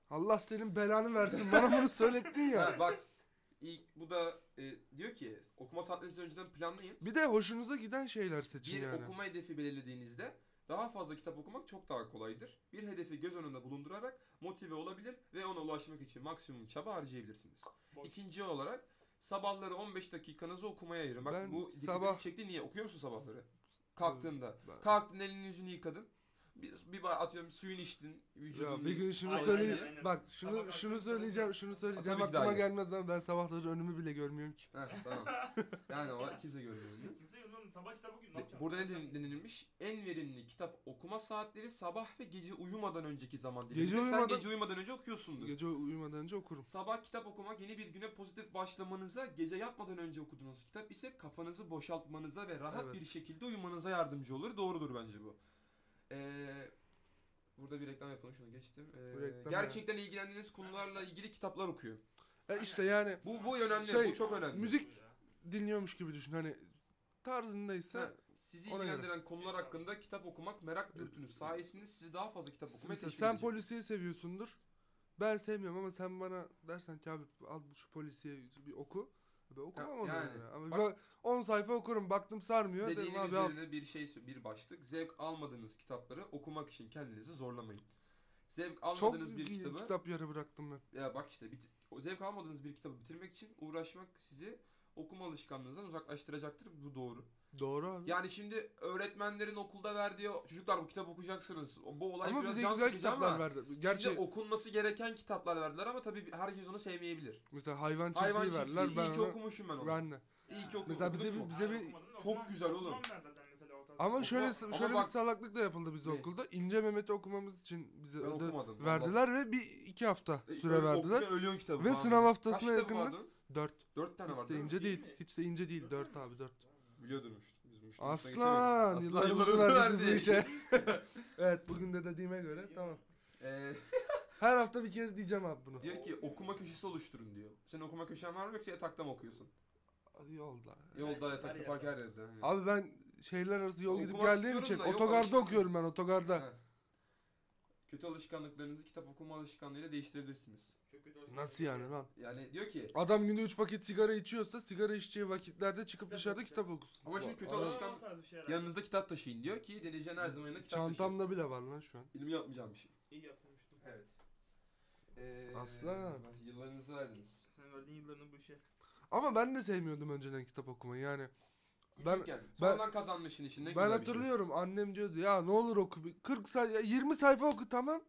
Speaker 2: Allah senin belanı versin bana bunu söylettin
Speaker 1: Ha,
Speaker 2: ya.
Speaker 1: bak ilk bu da e, diyor ki okuma saatlerinizi önceden planlayın.
Speaker 2: Bir de hoşunuza giden şeyler seçin
Speaker 1: Bir
Speaker 2: yani.
Speaker 1: okuma hedefi belirlediğinizde daha fazla kitap okumak çok daha kolaydır. Bir hedefi göz önünde bulundurarak motive olabilir ve ona ulaşmak için maksimum çaba harcayabilirsiniz.
Speaker 3: Boş.
Speaker 1: İkinci olarak sabahları 15 dakikanızı okumaya ayırın. Bak
Speaker 2: Ben
Speaker 1: bu dikkatimi
Speaker 2: sabah-
Speaker 1: çekti niye? Okuyor musun sabahları? Kalktığında.
Speaker 2: Ben-
Speaker 1: Kalktın elini yüzünü yıkadın. Bir, bir ba- atıyorum suyun içtin.
Speaker 2: Ya
Speaker 1: Vücudun
Speaker 2: bir gün şunu
Speaker 1: Aynen,
Speaker 2: söyleyeyim.
Speaker 3: aynen.
Speaker 2: Bak
Speaker 3: Sabah
Speaker 2: şunu şunu
Speaker 3: kalkıyorsun,
Speaker 2: söyleyeceğim, şunu söyleyeceğim.
Speaker 1: Tabii ki de
Speaker 2: Aklıma
Speaker 1: aynı.
Speaker 2: gelmez lan ben sabahları önümü bile görmüyorum ki.
Speaker 1: Heh, tamam. Yani o kimse görmüyor. bunu.
Speaker 3: Kimse yazmıyor. Sabah kitabı okuyayım. Ne
Speaker 1: De-
Speaker 3: yapacağım?
Speaker 1: Burada ne
Speaker 3: Yapacağım.
Speaker 1: den- denilmiş? En verimli kitap okuma saatleri sabah ve gece uyumadan önceki zaman
Speaker 2: Gece
Speaker 1: dilimi. Sen
Speaker 2: uyumadan-
Speaker 1: gece uyumadan önce okuyorsundur.
Speaker 2: Gece uyumadan önce okurum.
Speaker 1: Sabah kitap okumak yeni bir güne pozitif başlamanıza, gece yatmadan önce okuduğunuz kitap ise kafanızı boşaltmanıza ve rahat
Speaker 2: Evet.
Speaker 1: bir şekilde uyumanıza yardımcı olur. Doğrudur bence bu. Ee, burada bir reklam yapalım şunu geçtim. Ee,
Speaker 2: Bu reklam
Speaker 1: gerçekten ilgilendiğiniz konularla ilgili kitaplar okuyun.
Speaker 2: E işte yani
Speaker 1: Bu bu önemli,
Speaker 2: Şey,
Speaker 1: bu çok önemli.
Speaker 2: müzik- dinliyormuş gibi düşün hani tarzındaysa
Speaker 1: Ha, Sizi
Speaker 2: Ona göre.
Speaker 1: ilgilendiren konular hakkında kitap okumak merak dürtünüz sayesinde sizi daha fazla kitap okumaya
Speaker 2: mesela
Speaker 1: teşvik
Speaker 2: sen
Speaker 1: edecek.
Speaker 2: polisiye seviyorsundur. Ben sevmiyorum ama sen bana dersen ki abi al bu şu polisiye bir oku. E, Ben okumam onu
Speaker 1: yani.
Speaker 2: yani. Ama
Speaker 1: Bak-
Speaker 2: ben 10 sayfa okurum. Baktım sarmıyor. Dedim
Speaker 1: Dediğinin
Speaker 2: abi al.
Speaker 1: üzerine bir şey bir başlık. Zevk almadığınız kitapları okumak için kendinizi zorlamayın. Zevk
Speaker 2: Çok
Speaker 1: almadığınız bir
Speaker 2: iyi
Speaker 1: kitabı
Speaker 2: kitap yarı bıraktım ben.
Speaker 1: ya bak işte bit- o zevk almadığınız bir kitabı bitirmek için uğraşmak sizi okuma alışkanlığınızdan uzaklaştıracaktır. Bu doğru.
Speaker 2: Doğru abi.
Speaker 1: Yani şimdi öğretmenlerin okulda verdiği o- çocuklar bu kitap okuyacaksınız. Bu olay
Speaker 2: ama
Speaker 1: biraz
Speaker 2: bize
Speaker 1: can
Speaker 2: güzel
Speaker 1: sıkıcı
Speaker 2: kitaplar
Speaker 1: ama
Speaker 2: verdi.
Speaker 1: Gerçi...
Speaker 2: Gerçi
Speaker 1: okunması gereken kitaplar verdiler ama tabii bir- herkes onu sevmeyebilir.
Speaker 2: mesela hayvan çiftliği
Speaker 1: Hayvan
Speaker 2: verdiler.
Speaker 1: çiftliği. İyi
Speaker 2: Ben
Speaker 1: ki
Speaker 2: ona-
Speaker 1: okumuşum ben onu.
Speaker 2: ben de.
Speaker 1: İyi ki okudum.
Speaker 2: Mesela bize bir- bize bir-
Speaker 1: Çok güzel oğlum.
Speaker 3: ben zaten mesela o tarz.
Speaker 2: Ama
Speaker 1: Okuma-
Speaker 2: şöyle
Speaker 1: ama
Speaker 2: şöyle
Speaker 1: bak-
Speaker 2: bir salaklık da yapıldı bizde
Speaker 1: Ne?
Speaker 2: okulda. İnce Mehmet'i okumamız için bize
Speaker 1: Ben E,
Speaker 2: öde-
Speaker 1: okumadım, vallahi.
Speaker 2: verdiler ve bir iki hafta süre verdiler.
Speaker 1: Ölüyorsun kitabı.
Speaker 2: Ve
Speaker 1: falan.
Speaker 2: sınav
Speaker 1: Kaç
Speaker 2: haftasına
Speaker 1: kitabı
Speaker 2: yakındı.
Speaker 1: vardı?
Speaker 2: 4.
Speaker 1: Dört tane
Speaker 2: Hiç
Speaker 1: vardı.
Speaker 2: de
Speaker 1: değil mi?
Speaker 2: ince değil.
Speaker 3: Değil mi?
Speaker 2: Hiç de ince değil. 4 abi 4.
Speaker 1: Biliyordum işte. Bizim müşteri
Speaker 2: Aslan!
Speaker 1: geçemeyiz.
Speaker 2: Yıllar
Speaker 1: Aslan
Speaker 2: uzun
Speaker 1: yıllar
Speaker 2: verdi bize
Speaker 1: verdi.
Speaker 2: işe. evet bugün de dediğime göre tamam.
Speaker 1: Ee,
Speaker 2: Her hafta bir kere diyeceğim abi bunu.
Speaker 1: diyor ki okuma köşesi oluşturun diyor. Senin okuma köşen var mı yoksa yatakta mı okuyorsun?
Speaker 2: Yolda.
Speaker 1: Yolda
Speaker 3: Her-
Speaker 1: yatakta
Speaker 3: her
Speaker 1: fark her yerde. Hani.
Speaker 2: Abi ben şehirler arası yol gidip
Speaker 1: Okumak
Speaker 2: geldiğim
Speaker 1: istiyorum
Speaker 2: için
Speaker 1: da yok
Speaker 2: otogarda
Speaker 1: alışkanlık.
Speaker 2: okuyorum ben otogarda.
Speaker 1: Ha. Kötü alışkanlıklarınızı kitap okuma alışkanlığıyla değiştirebilirsiniz.
Speaker 3: Çok kötü olsun.
Speaker 2: Nasıl yani lan?
Speaker 1: Yani diyor ki
Speaker 2: Adam günde 3 paket sigara içiyorsa sigara içeceği vakitlerde çıkıp
Speaker 3: Kitap
Speaker 2: dışarıda
Speaker 3: okuyacak.
Speaker 2: kitap okusun.
Speaker 1: Ama şimdi kötü
Speaker 2: Aa,
Speaker 3: Aa,
Speaker 1: alışkan-
Speaker 3: o tarz bir şey herhalde.
Speaker 1: yanınızda kitap taşıyın diyor ki deneyeceğin her zaman yanında kitap taşıyın.
Speaker 2: Çantamda bile var lan şu an.
Speaker 1: Benim yapmayacağım bir şey.
Speaker 3: İyi yapmıştım.
Speaker 1: Evet. Ee,
Speaker 2: Aslan.
Speaker 1: bak Yıllarınızı verdiniz.
Speaker 3: Sen verdiğin yıllarını bu işe.
Speaker 2: Ama ben de sevmiyordum önceden kitap okumayı yani. Ben-
Speaker 1: Küçükken. Sonradan kazanmışsın işin. Ne
Speaker 2: ben
Speaker 1: güzel bir şey.
Speaker 2: hatırlıyorum annem diyordu ya ne olur oku bir 40 sayfa 20 sayfa oku tamam.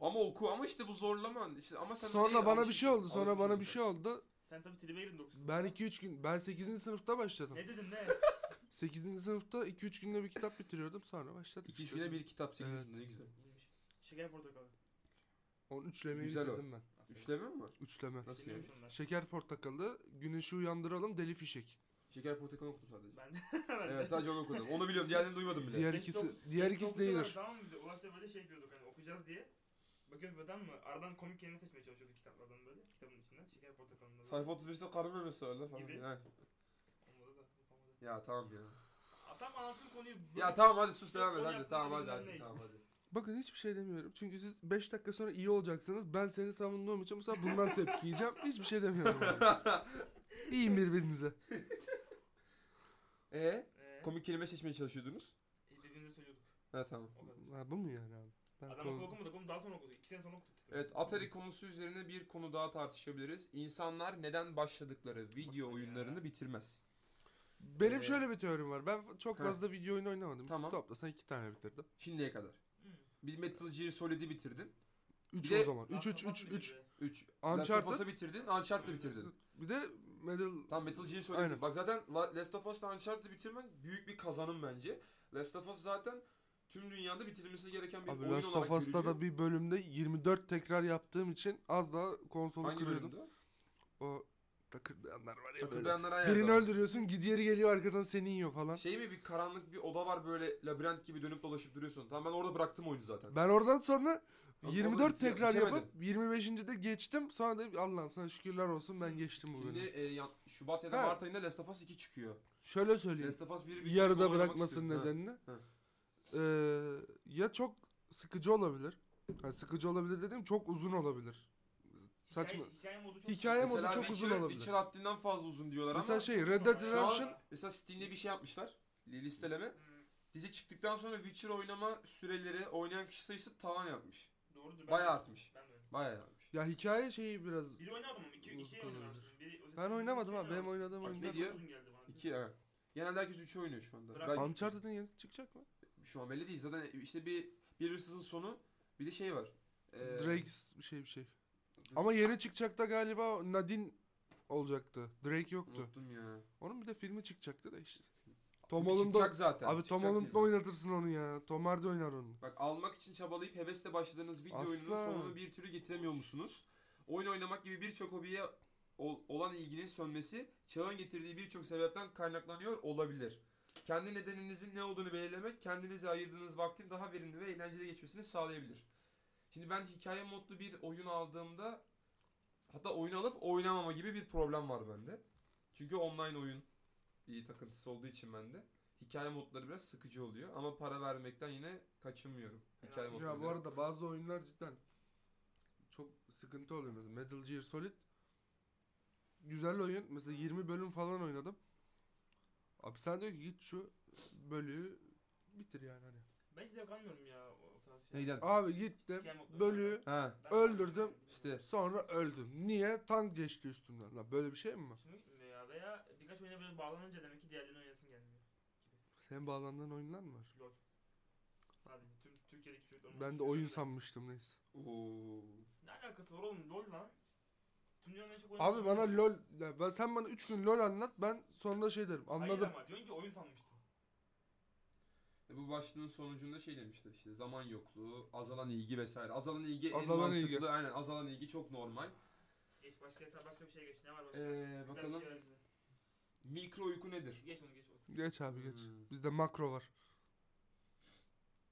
Speaker 1: Ama oku ama işte bu zorlaman. İşte ama sen
Speaker 2: Sonra
Speaker 1: neye
Speaker 2: bana bir
Speaker 1: alışırsın?
Speaker 2: şey oldu. Sonra
Speaker 1: Alışırsın
Speaker 2: bana bir
Speaker 1: zaten.
Speaker 2: şey oldu.
Speaker 3: Sen tabii tribe girdin 9.
Speaker 2: Ben 2-3 gün ben 8. sınıfta başladım.
Speaker 3: Ne dedin ne?
Speaker 2: 8. sınıfta 2-3 günde bir kitap bitiriyordum sonra başladık.
Speaker 1: İki üç
Speaker 2: işte.
Speaker 1: güne bir kitap sekiz
Speaker 2: Evet.
Speaker 1: ne güzel.
Speaker 3: Bilmiş. Şeker portakalı.
Speaker 2: Onu üçlemeyi
Speaker 1: Güzel o.
Speaker 2: bitirdim ben.
Speaker 1: Üçleme mi? var?
Speaker 2: Üçleme.
Speaker 1: Nasıl yani?
Speaker 3: Bilmiyorum şunlar.
Speaker 2: Şeker portakalı, güneşi uyandıralım, deli fişek.
Speaker 1: Şeker portakan okudum sadece.
Speaker 3: Ben de. ben de.
Speaker 1: Evet sadece onu okudum. Onu biliyorum diğerlerini duymadım bile.
Speaker 2: Diğer
Speaker 3: Beni
Speaker 2: ikisi,
Speaker 3: çok-
Speaker 2: diğer
Speaker 3: Biz
Speaker 2: ikisi
Speaker 3: okudular,
Speaker 2: değildir.
Speaker 3: Tamam mı? bize? Ulaş'ta böyle şey yapıyorduk hani okuyacağız diye. Bakıyoruz böyle tamam mı? Aradan komik kelime seçmeye çalışıyorduk kitaplardan böyle. Kitabın içinden. Şeker portakalında böyle.
Speaker 1: Sayfa 35'te karı memesi var la falan.
Speaker 3: Gibi.
Speaker 1: Evet.
Speaker 3: Olmadı da, yapamadı.
Speaker 1: Ya tamam ya.
Speaker 3: Aa, Tam anlattığım konuyu.
Speaker 1: Ya tamam hadi sus devam et
Speaker 3: Onu
Speaker 1: hadi.
Speaker 3: yaptım,
Speaker 1: Tamam hadi
Speaker 3: bilmem
Speaker 1: hadi.
Speaker 3: ne.
Speaker 1: Tamam hadi.
Speaker 2: Bakın hiçbir şey demiyorum. Çünkü siz 5 dakika sonra iyi olacaksınız. Ben seni savunduğum için bu sefer bundan tepki yiyeceğim. Hiçbir şey demiyorum. Yani. İyiyim birbirinize.
Speaker 1: Ee,
Speaker 3: Ee,
Speaker 1: komik kelime seçmeye çalışıyordunuz.
Speaker 3: e, birbirimize söylüyorduk.
Speaker 1: Ha tamam.
Speaker 3: O kadar.
Speaker 2: Ha, bu mu yani abi? Ben
Speaker 3: Adam
Speaker 2: kork-
Speaker 3: okul okumadık oğlum daha sonra okuduk. İki sene sonra okuduk. kitabı.
Speaker 1: Evet Atari konusu üzerine bir konu daha tartışabiliriz. İnsanlar neden başladıkları video
Speaker 3: Boş ver ya.
Speaker 1: oyunlarını bitirmez.
Speaker 2: Benim
Speaker 1: Ee,
Speaker 2: şöyle bir teorim var. Ben çok
Speaker 1: Ha.
Speaker 2: fazla video oyunu oynamadım.
Speaker 1: Tamam.
Speaker 2: Toplasan 2 tane bitirdim.
Speaker 1: Şimdiye kadar.
Speaker 3: Hmm.
Speaker 1: Bir Metal Gear Solid'i bitirdin.
Speaker 2: 3
Speaker 1: Bir de-
Speaker 2: o zaman. 3
Speaker 3: Last of
Speaker 2: 3
Speaker 3: Us
Speaker 2: 3
Speaker 3: mıydı
Speaker 2: 3.
Speaker 3: bir de?
Speaker 1: 3. Last of
Speaker 2: Uncharted.
Speaker 1: Us'ı bitirdin. Uncharted'ı bitirdin.
Speaker 2: Bir de Medal
Speaker 1: Tam Metal Gear Solid.
Speaker 2: Aynen.
Speaker 1: Bak zaten La- Last of Us'la Uncharted'ı bitirmen büyük bir kazanım bence. Last of Us zaten tüm dünyada bitirilmesi gereken bir
Speaker 2: Abi
Speaker 1: oyun
Speaker 2: Last
Speaker 1: olarak
Speaker 2: of Us'ta
Speaker 1: görülüyor.
Speaker 2: da bir bölümde 24 tekrar yaptığım için az daha konsolu
Speaker 1: Hangi
Speaker 2: kırıyordum.
Speaker 1: bölümde?
Speaker 2: O takırdayanlar var ya böyle.
Speaker 1: Takıldayanlara ayarlı.
Speaker 2: Birini öldürüyorsun, diğeri geliyor arkadan seni yiyor falan.
Speaker 1: Şey mi bir karanlık bir oda var böyle labirent gibi dönüp dolaşıp duruyorsun. Tamam ben orada bıraktım oyunu zaten.
Speaker 2: Ben oradan sonra
Speaker 1: Oğlum,
Speaker 2: 24
Speaker 1: bitir-
Speaker 2: tekrar
Speaker 1: bitiremedim.
Speaker 2: yapıp 25. de geçtim. Sonra dedim Allah'ım sana şükürler olsun ben geçtim bu
Speaker 1: Şimdi
Speaker 2: bölümü.
Speaker 1: e, ya- Şubat ya da
Speaker 2: Ha.
Speaker 1: Mart ayında Last of Us 2 çıkıyor.
Speaker 2: Şöyle söyleyeyim.
Speaker 1: Last of Us 1'i
Speaker 2: Yarıda bırakmasının nedenini.
Speaker 1: Ha.
Speaker 2: Ee, ya çok sıkıcı olabilir. Yani sıkıcı olabilir dediğim çok uzun olabilir. Saçma.
Speaker 3: Hikaye, hikaye modu çok
Speaker 2: Hikaye
Speaker 3: Mesela-
Speaker 2: modu-
Speaker 1: Mesela
Speaker 2: çok
Speaker 1: çok
Speaker 2: uzun
Speaker 1: Witcher,
Speaker 2: olabilir.
Speaker 1: Witcher haddinden fazla uzun diyorlar ama.
Speaker 2: Mesela
Speaker 1: Mesela,
Speaker 2: şey Red Dead
Speaker 3: Şu an-
Speaker 2: Redemption
Speaker 1: Steam'de bir şey yapmışlar. li- Listeleme.
Speaker 3: Hmm,
Speaker 1: Dizi çıktıktan sonra Witcher oynama süreleri oynayan kişi sayısı tavan yapmış.
Speaker 3: Doğrudur. ben-
Speaker 1: Bayağı artmış.
Speaker 3: Ben de öyle.
Speaker 1: Bayağı artmış.
Speaker 2: ya hikaye şeyi biraz
Speaker 3: Biri oynamadım ama iki,
Speaker 2: Uzun
Speaker 3: iki oynadım
Speaker 2: olabilir.
Speaker 3: aslında. Biri- özellikle
Speaker 2: ben
Speaker 3: biri
Speaker 2: oynamadım
Speaker 3: iki
Speaker 2: abi.
Speaker 3: oynamadım.
Speaker 2: Benim oynadığım
Speaker 1: Bak,
Speaker 2: oyunda
Speaker 1: ne diyor?
Speaker 3: Uzun geldi bana.
Speaker 1: 2 ha. Genelde herkes 3'ü oynuyor şu anda.
Speaker 3: Bırak-
Speaker 1: Belki-
Speaker 2: Uncharted'ın yenisi çıkacak mı?
Speaker 1: şu an belli değil. Zaten işte bir bir hırsızın sonu bir de şey var. Ee,
Speaker 2: Drake's bir şey bir şey. Ama yeni çıkacak da galiba Nadine olacaktı. Drake yoktu.
Speaker 1: Unuttum ya.
Speaker 2: Onun bir de filmi çıkacaktı da işte. Tom
Speaker 1: Bu
Speaker 2: Holland'da
Speaker 1: Çıkacak zaten.
Speaker 2: Abi Tom
Speaker 1: çıkacak
Speaker 2: Holland'da
Speaker 1: yani.
Speaker 2: oynatırsın onu ya. Tom Hardy oynar onu.
Speaker 1: Bak almak için çabalayıp hevesle başladığınız video oyununun
Speaker 2: Aslan.
Speaker 1: sonunu bir türlü getiremiyor musunuz? Oyun oynamak gibi birçok hobiye ol- olan ilginin sönmesi çağın getirdiği birçok sebepten kaynaklanıyor olabilir. Kendi nedeninizin ne olduğunu belirlemek kendinize ayırdığınız vaktin daha verimli ve eğlenceli geçmesini sağlayabilir. Şimdi ben hikaye modlu bir oyun aldığımda hatta oyun alıp oynamama gibi bir problem var bende. Çünkü online oyun iyi takıntısı olduğu için bende. Hikaye modları biraz sıkıcı oluyor ama para vermekten yine kaçınmıyorum. Hikaye
Speaker 3: Ya
Speaker 1: modları.
Speaker 2: Ya bu arada bazı oyunlar cidden çok sıkıntı oluyor. Mesela Metal Gear Solid güzel oyun. Mesela 20 bölüm falan oynadım. Abi sen diyor ki git şu bölüğü bitir yani hani.
Speaker 3: Ben hiç zevk almıyorum ya o o tarz şey.
Speaker 1: Neyden?
Speaker 2: Abi gittim
Speaker 3: Hikaye modları.
Speaker 2: bölüğü
Speaker 1: Ha
Speaker 3: Ben-
Speaker 2: öldürdüm.
Speaker 1: işte
Speaker 2: sonra öldüm. Niye? Tank geçti üstümden. Lan böyle bir şey mi var?
Speaker 3: Hoşuma gitmiyor ya veya birkaç oyuna böyle bağlanınca demek ki diğerlerini oynayasın gelmiyor.
Speaker 2: Senin bağlandığın oyunlar mı var?
Speaker 3: LOL. Sadece tüm Türkiye'deki çocukların...
Speaker 2: Ben de oyun sanmıştım neyse.
Speaker 1: Oo.
Speaker 3: Ne alakası var oğlum LOL lan? Tüm dünyanın en çok oynadığı
Speaker 2: Abi bana
Speaker 3: oyunu-
Speaker 2: lol ya ben sen bana 3 gün lol anlat ben sonra şey derim
Speaker 3: Hayır
Speaker 2: anladım.
Speaker 3: ama diyorsun ki oyun sanmıştım.
Speaker 1: E bu başlığın sonucunda şey demişler işte zaman yokluğu, azalan ilgi vesaire. Azalan ilgi en
Speaker 2: Azalan
Speaker 1: mantıklı.
Speaker 2: ilgi.
Speaker 1: Aynen azalan ilgi çok normal.
Speaker 3: Geç başka hesap başka bir şeye geç. Ne var başka?
Speaker 1: Ee,
Speaker 3: Güzel bir
Speaker 1: bakalım
Speaker 3: şey ver bize.
Speaker 1: mikro uyku nedir?
Speaker 3: Geç onu geç. o sıkıntı.
Speaker 2: Geç abi geç.
Speaker 1: Hmm.
Speaker 2: Bizde makro var.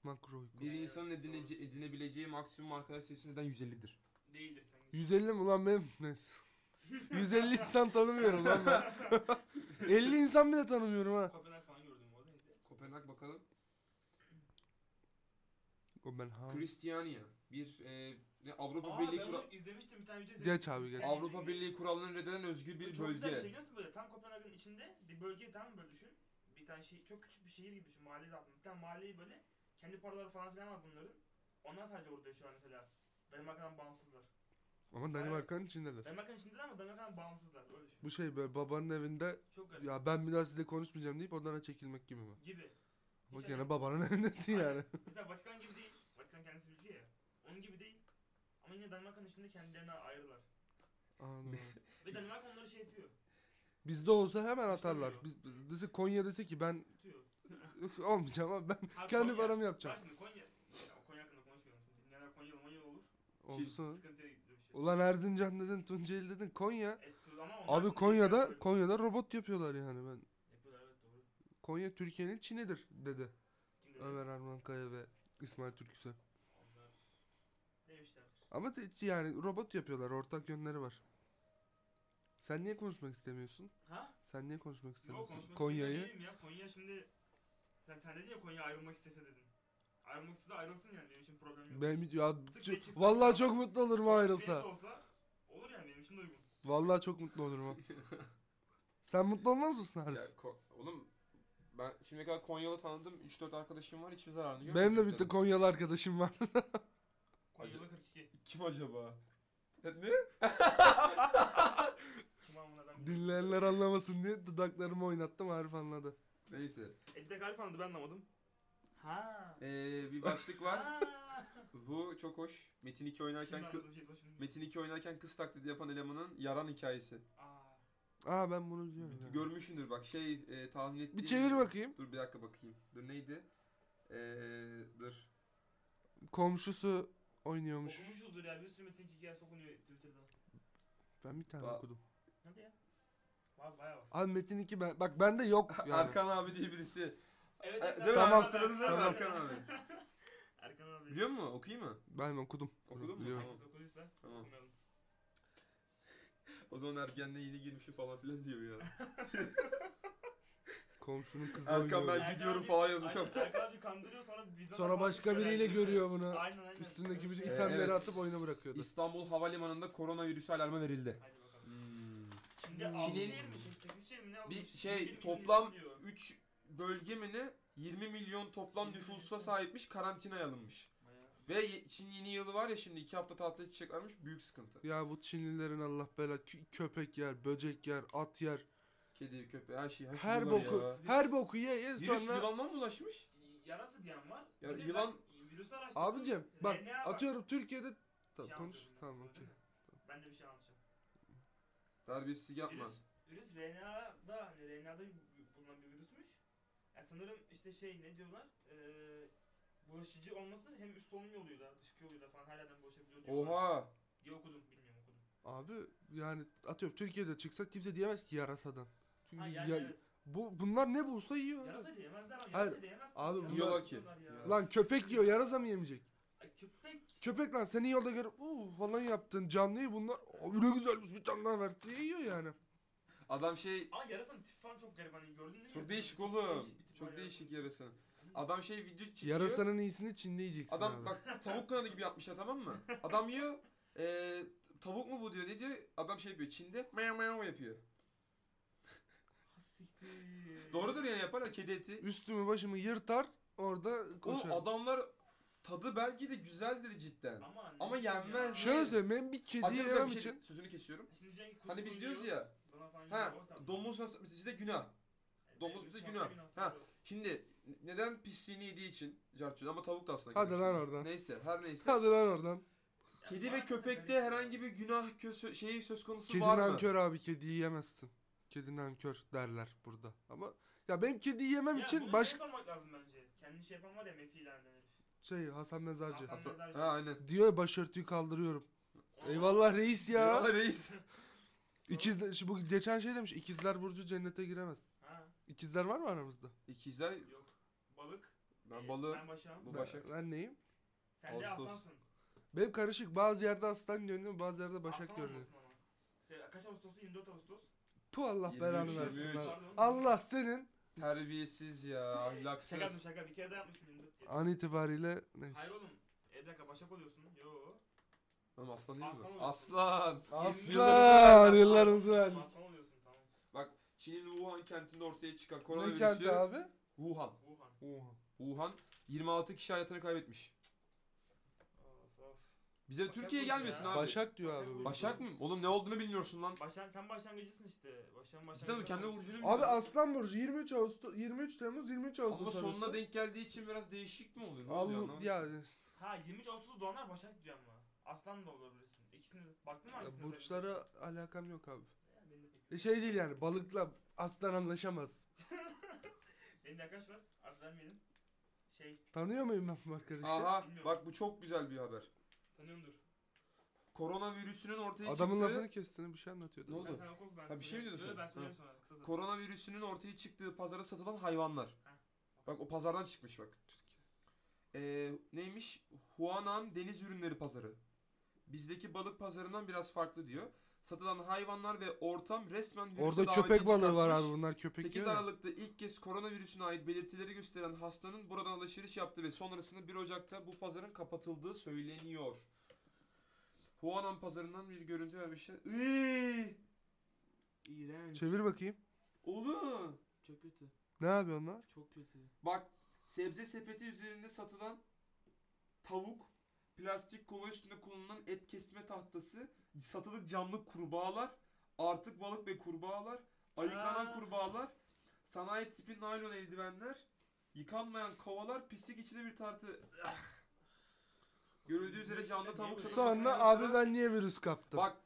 Speaker 2: Makro uyku.
Speaker 1: Bir
Speaker 3: Evet,
Speaker 1: insanın
Speaker 3: doğru.
Speaker 1: edinece, edinebileceği maksimum arkadaş sayısı neden 150'dir?
Speaker 3: Değildir sen geç.
Speaker 2: 150 mi ulan benim? Neyse. 150 insan tanımıyorum lan ben. 50 insan bile tanımıyorum ha.
Speaker 3: Kopenhag falan gördüm orada neydi?
Speaker 1: Kopenhag bakalım.
Speaker 2: O ben ha.
Speaker 1: Kristiyaniya. bir e, ne, Avrupa
Speaker 3: Aa,
Speaker 1: Birliği
Speaker 3: ben
Speaker 1: kura-
Speaker 3: onu izlemiştim bir tane video izlemiştim.
Speaker 2: Geç abi geç.
Speaker 3: Av-
Speaker 1: Avrupa Birliği kurallarına neden özgür bir
Speaker 3: çok güzel bir şey
Speaker 1: bölge.
Speaker 3: biliyor musun böyle? Tam Kopenhag'ın içinde bir bölgeyi tam böyle düşün. Bir tane şey, çok küçük bir şehir gibi düşün. Mahalle zaten. Bir tane mahalleyi böyle kendi paraları falan filan var bunların. Onlar sadece orada yaşıyorlar mesela. Danimarka'dan bağımsızlar.
Speaker 2: Ama Danimarka'nın içindeler.
Speaker 3: Danimarka'nın içindeler ama Danimarka'dan bağımsızlar. Öyle düşün.
Speaker 2: Bu şey böyle babanın evinde
Speaker 3: Çok garip.
Speaker 2: ya ben bir daha sizle konuşmayacağım deyip odana çekilmek gibi mi?
Speaker 3: Gibi.
Speaker 2: Ama
Speaker 3: Hiç
Speaker 2: gene
Speaker 3: önemli-
Speaker 2: babanın evindesin yani.
Speaker 3: Mesela Vatikan gibi değil. Vatikan kendisi bilgi ya. Onun gibi değil. Ama yine Danimarka'nın içinde kendilerine ayrılar.
Speaker 2: Anladım.
Speaker 3: Ve Danimarka onları şey yapıyor.
Speaker 2: Bizde olsa hemen atarlar.
Speaker 3: Tutamıyor.
Speaker 2: Biz, biz, dese Konya dese ki ben
Speaker 3: Tutuyor.
Speaker 2: olmayacağım ama ben
Speaker 3: Abi
Speaker 2: kendi
Speaker 3: Konya-
Speaker 2: paramı
Speaker 3: Bak
Speaker 2: yapacağım.
Speaker 3: şimdi Konya. Ya Konya hakkında konuşmayalım. Neler Konyalı Manyalı olur.
Speaker 2: Olsun.
Speaker 3: Sıkıntıya gidiyor bir şey.
Speaker 2: Ulan Erzincan dedin, Tunceli dedin, Konya.
Speaker 3: E, tu- ama onlar şey
Speaker 2: Abi
Speaker 3: da-
Speaker 2: Konya'da Konya'da robot yapıyorlar yani ben.
Speaker 3: Yapıyorlar E, evet doğru.
Speaker 2: Konya Türkiye'nin Çin'idir dedi.
Speaker 3: Kim dedi?
Speaker 2: Ömer Arman Kaya ve İsmail Türküse.
Speaker 3: Onlar demişler.
Speaker 2: Ama te- yani robot yapıyorlar. Ortak yönleri var. Sen niye konuşmak istemiyorsun?
Speaker 3: Ha?
Speaker 2: Sen niye konuşmak
Speaker 3: Yok
Speaker 2: istemiyorsun?
Speaker 3: konuşmak
Speaker 2: Konya'yı.
Speaker 3: istemiyorum ya. Konya şimdi sen, sen dedin ya Konya ayrılmak istese dedin. Ayrılmak istese ayrılsın yani benim için problem yok.
Speaker 2: Ben ya
Speaker 3: Tık
Speaker 2: ço-
Speaker 3: geçirsin.
Speaker 2: vallahi çok mutlu olurum o ayrılsa.
Speaker 3: Neyse olsa olur yani benim için de uygun.
Speaker 2: Vallahi çok mutlu olurum. ha. Sen mutlu olmaz mısın Arif?
Speaker 1: Ya, ko- oğlum ben şimdiye kadar Konyalı tanıdım 3-4 arkadaşım var hiçbir zararını görmedim.
Speaker 2: Benim de bir
Speaker 1: çocukların.
Speaker 2: tek Konyalı arkadaşım var.
Speaker 3: Konya'da 42.
Speaker 1: Kim acaba? Ya ne?
Speaker 3: Kim anlamadan bir.
Speaker 2: Dinleyenler anlamasın diye dudaklarımı oynattım Arif anladı.
Speaker 1: Neyse.
Speaker 3: E bir de Galip anladı ben anlamadım. Ha.
Speaker 1: Ee, bir başlık var.
Speaker 3: Ha.
Speaker 1: Bu çok hoş. Metin 2
Speaker 3: Şimdi
Speaker 1: oynarken kı-
Speaker 3: anladım, şey, şimdi-
Speaker 1: Metin 2 oynarken kız taklidi yapan elemanın yaran hikayesi.
Speaker 3: Aa.
Speaker 2: Aa ben bunu biliyorum. ya.
Speaker 1: Görmüşsündür bak şey e, tahmin ettiğim.
Speaker 2: Bir çevir bakayım.
Speaker 1: Dur bir dakika bakayım. Dur neydi? Ee, dur.
Speaker 2: Komşusu oynuyormuş.
Speaker 3: Okumuşuzdur ya bir sürü Metin 2 gelse okunuyor Twitter'da.
Speaker 2: Ben bir tane
Speaker 1: Ba-
Speaker 2: okudum.
Speaker 3: Hadi ya. Var bayağı var.
Speaker 2: Abi Metin 2 ben bak bende yok yani.
Speaker 1: Erkan abi diye birisi.
Speaker 3: Evet.
Speaker 1: E,
Speaker 3: evet,
Speaker 1: değil mi?
Speaker 3: Erkan abi,
Speaker 1: Hatırladın değil mi
Speaker 3: Erkan
Speaker 1: Erkan abi?
Speaker 3: Erkan abi.
Speaker 1: Biliyor musun? Okuyayım mı?
Speaker 2: Ben okudum.
Speaker 1: Okudun mu?
Speaker 2: Biliyorum.
Speaker 3: Herkes okuduysa
Speaker 1: Tamam.
Speaker 3: okumayalım.
Speaker 1: O zaman ergenliğe yeni girmişim falan filan diyor ya.
Speaker 2: Komşunun kızı
Speaker 1: Erkan
Speaker 2: oynuyor.
Speaker 1: ben
Speaker 3: Erkan
Speaker 1: gidiyorum
Speaker 3: abi-
Speaker 1: falan yazmış ama.
Speaker 3: Aynen, Erkan abi kandırıyor sonra bizden
Speaker 2: Sonra başka biriyle görüyor bunu.
Speaker 3: Aynen aynen.
Speaker 2: Üstündeki bütün
Speaker 1: Ee,
Speaker 2: itemleri
Speaker 1: evet.
Speaker 2: atıp oyuna bırakıyordu.
Speaker 1: İstanbul Havalimanı'nda koronavirüs alarmı verildi.
Speaker 3: Hadi bakalım.
Speaker 1: Hmm.
Speaker 3: Şimdi 6
Speaker 1: Çin'in-
Speaker 3: şehir mi? 8 şehir mi ne
Speaker 1: Bir
Speaker 3: olmuş? 20
Speaker 1: şey
Speaker 3: milyon
Speaker 1: toplam
Speaker 3: insan diyor.
Speaker 1: 3 bölge mi ne? 20 milyon toplam
Speaker 3: 20 milyon.
Speaker 1: nüfusa sahipmiş karantinaya alınmış.
Speaker 3: Bayağı.
Speaker 1: Ve ye- Çin yeni yılı var ya şimdi 2 hafta tatile çıkacaklarmış büyük sıkıntı.
Speaker 2: Ya bu Çinlilerin Allah bela kö- köpek yer, böcek yer, at yer.
Speaker 1: Kedi, köpeği her şey her, şey
Speaker 2: Her
Speaker 1: var
Speaker 2: boku,
Speaker 1: ya.
Speaker 2: her boku ye ye
Speaker 1: Virüs
Speaker 2: sonra.
Speaker 1: yılandan mı ulaşmış?
Speaker 3: Yarası diyen var.
Speaker 1: Ya
Speaker 3: Bir de
Speaker 1: yılan-
Speaker 3: ben virüsü araştırdım.
Speaker 2: Abicim bak
Speaker 3: RNA var.
Speaker 2: atıyorum Türkiye'de
Speaker 3: Bir
Speaker 2: Tamam
Speaker 3: şey
Speaker 2: konuş.
Speaker 3: anlatıyorum ben,
Speaker 2: Tamam
Speaker 3: öyle
Speaker 2: okey.
Speaker 3: mi? Ben de bir şey anlatacağım.
Speaker 1: Terbiyesizlik yapma.
Speaker 3: Virüs, virüs RNA'da hani RNA'da bulunan bir virüsmüş. Yani sanırım işte şey ne diyorlar? Eee bulaşıcı olması hem üst solunum yoluyla, dışkı yoluyla falan her yerden bulaşabiliyor diyorlar.
Speaker 1: Oha.
Speaker 3: Diye okudum, bilmiyorum okudum.
Speaker 2: Abi yani atıyorum Türkiye'de çıksa kimse diyemez ki yarasadan. Çünkü
Speaker 3: Ha
Speaker 2: biz
Speaker 3: yani
Speaker 2: ya-
Speaker 3: evet.
Speaker 2: bu bunlar ne bulsa yiyor. abi.
Speaker 3: Yarasa diyemezler ama
Speaker 2: Hayır,
Speaker 3: yarasa diyemez.
Speaker 2: abi
Speaker 3: Yarasa
Speaker 1: bunlar-
Speaker 3: diyorlar
Speaker 1: Diyorlar
Speaker 3: Ya.
Speaker 1: ki.
Speaker 2: Lan köpek yiyor yarasa mı yemeyecek?
Speaker 3: Ay köpek.
Speaker 2: Köpek lan seni yolda görüp uuu falan yaptın canlıyı bunlar abi ne güzelmiş bir tane daha ver diye yiyor yani.
Speaker 1: Adam şey
Speaker 3: Ama yarasanın tipi falan çok garip hani gördün değil mi?
Speaker 1: çok değişik oğlum.
Speaker 3: bir tip var
Speaker 1: Çok değişik
Speaker 3: yarasanın.
Speaker 1: yarasın. Adam şey video çekiyor.
Speaker 2: Yarasanın iyisini Çin'de yiyeceksin
Speaker 1: Adam
Speaker 2: abi.
Speaker 1: bak tavuk kanadı gibi yapmışlar tamam mı? Adam yiyor. Eee tavuk mu bu diyor ne diyor? Adam şey yapıyor Çin'de meow meow yapıyor.
Speaker 3: Ha, siktir.
Speaker 1: Doğrudur yani yaparlar kedi eti.
Speaker 2: Üstümü başımı yırtar orada koşar.
Speaker 1: Oğlum adamlar tadı belki de güzeldir cidden.
Speaker 3: Ama,
Speaker 1: Ama
Speaker 3: ne diyeyim
Speaker 1: yenmez.
Speaker 3: ya?
Speaker 2: Şöyle söyleyeyim ben bir kedi
Speaker 1: Atıyorum
Speaker 2: yemem
Speaker 1: bir şey-
Speaker 2: için
Speaker 1: sözünü kesiyorum.
Speaker 3: Şimdi diyeceksin ki
Speaker 1: Hani biz
Speaker 3: kuzgun
Speaker 1: diyoruz
Speaker 3: yiyor,
Speaker 1: ya.
Speaker 3: dana falan Hani
Speaker 1: Ha
Speaker 3: yiyor, o zaman.
Speaker 1: domuz nasıl size günah.
Speaker 3: Yani
Speaker 1: domuz
Speaker 3: benim
Speaker 1: bize
Speaker 3: üstüme
Speaker 1: günah. Ha,
Speaker 3: doğru.
Speaker 1: Şimdi neden pisliğini yediği için cartçı ama tavuk da aslında.
Speaker 2: Hadi
Speaker 1: köpek.
Speaker 2: lan oradan.
Speaker 1: Neyse her neyse.
Speaker 2: hadi lan oradan.
Speaker 3: Ya
Speaker 1: Kedi ve
Speaker 3: maalesef şey
Speaker 1: köpekte
Speaker 3: garip.
Speaker 1: herhangi bir günah kösö- şeyi söz konusu
Speaker 2: Kedi
Speaker 1: var mı?
Speaker 2: nankör abi kediyi yemezsin. Kedi nankör derler burada. Ama ya benim kediyi yemem
Speaker 3: Ya bunu
Speaker 2: için
Speaker 3: şey
Speaker 2: başka
Speaker 3: sormak lazım bence. Kendi şey yapan var ya Messi ilan eden herif.
Speaker 2: şey Hasan
Speaker 3: Hasan-
Speaker 2: Mezarcı.
Speaker 1: Hasan-
Speaker 3: Mezarcı.
Speaker 1: ha aynen.
Speaker 2: Diyor ya başörtüyü kaldırıyorum.
Speaker 3: Ona-
Speaker 2: Eyvallah reis ya.
Speaker 1: Eyvallah reis.
Speaker 3: Sonra-
Speaker 2: İkiz şu bu geçen şey demiş ikizler burcu cennete giremez.
Speaker 3: Ha,
Speaker 2: İkizler var mı aramızda?
Speaker 1: İkizler
Speaker 3: yok. Balık.
Speaker 1: ben
Speaker 3: Ee,
Speaker 1: balığı.
Speaker 3: Ben başağım.
Speaker 1: Bu Başak.
Speaker 2: Ben, ben neyim?
Speaker 3: Sen de
Speaker 1: Ağustos.
Speaker 3: aslansın.
Speaker 2: Benim karışık. Bazı yerde aslan görünüyor, bazı yerde başak
Speaker 3: Aslan
Speaker 2: görünüyor.
Speaker 3: olmasın ama. Ya, kaç Ağustos'tu? 24 Ağustos.
Speaker 2: Tu Allah
Speaker 1: 23,
Speaker 2: belanı
Speaker 1: 23.
Speaker 2: versin. lan.
Speaker 3: Pardon.
Speaker 2: Allah senin
Speaker 1: Terbiyesiz ya ahlaksız.
Speaker 3: Şaka yaptım şaka. Bir kere daha yapmıştım 24 diye.
Speaker 2: an itibariyle neyse.
Speaker 3: Hayır oğlum. Ee, E bir dakika başak oluyorsun. Yo.
Speaker 1: Oğlum aslan değil mi?
Speaker 3: Aslan
Speaker 1: bu?
Speaker 3: olsun.
Speaker 1: Aslan.
Speaker 2: Aslan yıllarımızı verdik.
Speaker 3: Aslan oluyorsun tamam.
Speaker 1: Bak Çin'in Wuhan kentinde ortaya çıkan
Speaker 2: Ne kenti
Speaker 1: koronavirüsü.
Speaker 2: abi?
Speaker 1: Wuhan.
Speaker 3: Wuhan.
Speaker 2: Oha.
Speaker 1: Wuhan 26 kişi hayatını kaybetmiş.
Speaker 3: Of of.
Speaker 1: Bize
Speaker 3: Başak
Speaker 1: Türkiye
Speaker 3: olsun
Speaker 1: gelmesin
Speaker 3: ya.
Speaker 1: abi. Başak,
Speaker 2: Başak diyor abi. bu.
Speaker 1: Başak mı? Oğlum ne olduğunu bilmiyorsun lan.
Speaker 3: Başan sen başlangıcısın işte. Başan başlangıcı.
Speaker 1: Cidden mi? Kendi burcunu
Speaker 2: Abi Aslan Burcu 23 Ağustos 23 Temmuz 23 Ağustos.
Speaker 1: Ama sonuna
Speaker 2: arası.
Speaker 1: denk geldiği için biraz değişik mi oluyor? Ne oluyor
Speaker 2: Al
Speaker 1: anlamadım.
Speaker 2: yani
Speaker 3: Ha 23 Ağustos doğanlar Başak diyor ama. Aslan da olabilirsin. İkisini de- baktın mı hangisini?
Speaker 2: burçlara alakam yok abi.
Speaker 3: Ya, benim de pek-
Speaker 2: E Şey değil yani balıkla aslan anlaşamaz.
Speaker 3: Benim de arkadaş var. Az vermeyelim. Şey
Speaker 2: Tanıyor muyum ben bu arkadaşı?
Speaker 1: Aha
Speaker 3: Bilmiyorum.
Speaker 1: bak bu çok güzel bir haber.
Speaker 3: tanıyordur.
Speaker 1: Koronavirüsünün ortaya
Speaker 2: Adamın
Speaker 1: çıktığı
Speaker 2: lafını kestin bir şey anlatıyordun.
Speaker 1: Ne oldu?
Speaker 3: Sen, sen oku ben.
Speaker 1: Ha, bir şey mi
Speaker 3: söyleyeyim.
Speaker 1: diyordun
Speaker 3: Yo,
Speaker 1: sen?
Speaker 3: Ben söyleyeyim sonra. Kısa zaman.
Speaker 1: koronavirüsünün ortaya çıktığı pazara satılan hayvanlar.
Speaker 3: Heh.
Speaker 1: Bak o pazardan çıkmış bak. Ee, neymiş? Huanan deniz ürünleri pazarı. Bizdeki balık pazarından biraz farklı diyor. Satılan hayvanlar ve ortam resmen virüse
Speaker 2: Orada
Speaker 1: davetiye
Speaker 2: köpek balığı var
Speaker 1: çıkartmış.
Speaker 2: abi bunlar köpek
Speaker 1: 8
Speaker 2: yiyor ya.
Speaker 1: Aralık'ta ilk kez koronavirüsüne ait belirtileri gösteren hastanın buradan alışveriş yaptığı ve sonrasında 1 Ocak'ta bu pazarın kapatıldığı söyleniyor. Huanan pazarından bir görüntü vermişler. Iiii!
Speaker 4: İğrenç.
Speaker 2: Çevir bakayım.
Speaker 1: Oğlum!
Speaker 4: Çok kötü.
Speaker 2: Ne abi onlar?
Speaker 4: Çok kötü.
Speaker 1: Bak sebze sepeti üzerinde satılan tavuk, plastik kova üstünde kullanılan et kesme tahtası, satılık canlı kurbağalar, artık balık ve kurbağalar, ayıklanan
Speaker 3: Aa.
Speaker 1: kurbağalar, sanayi tipi naylon eldivenler, yıkanmayan kovalar, pislik içinde bir tartı. Ah! Görüldüğü üzere canlı tavuk satılması
Speaker 2: Sonra abi ben niye virüs kaptım?
Speaker 1: Bak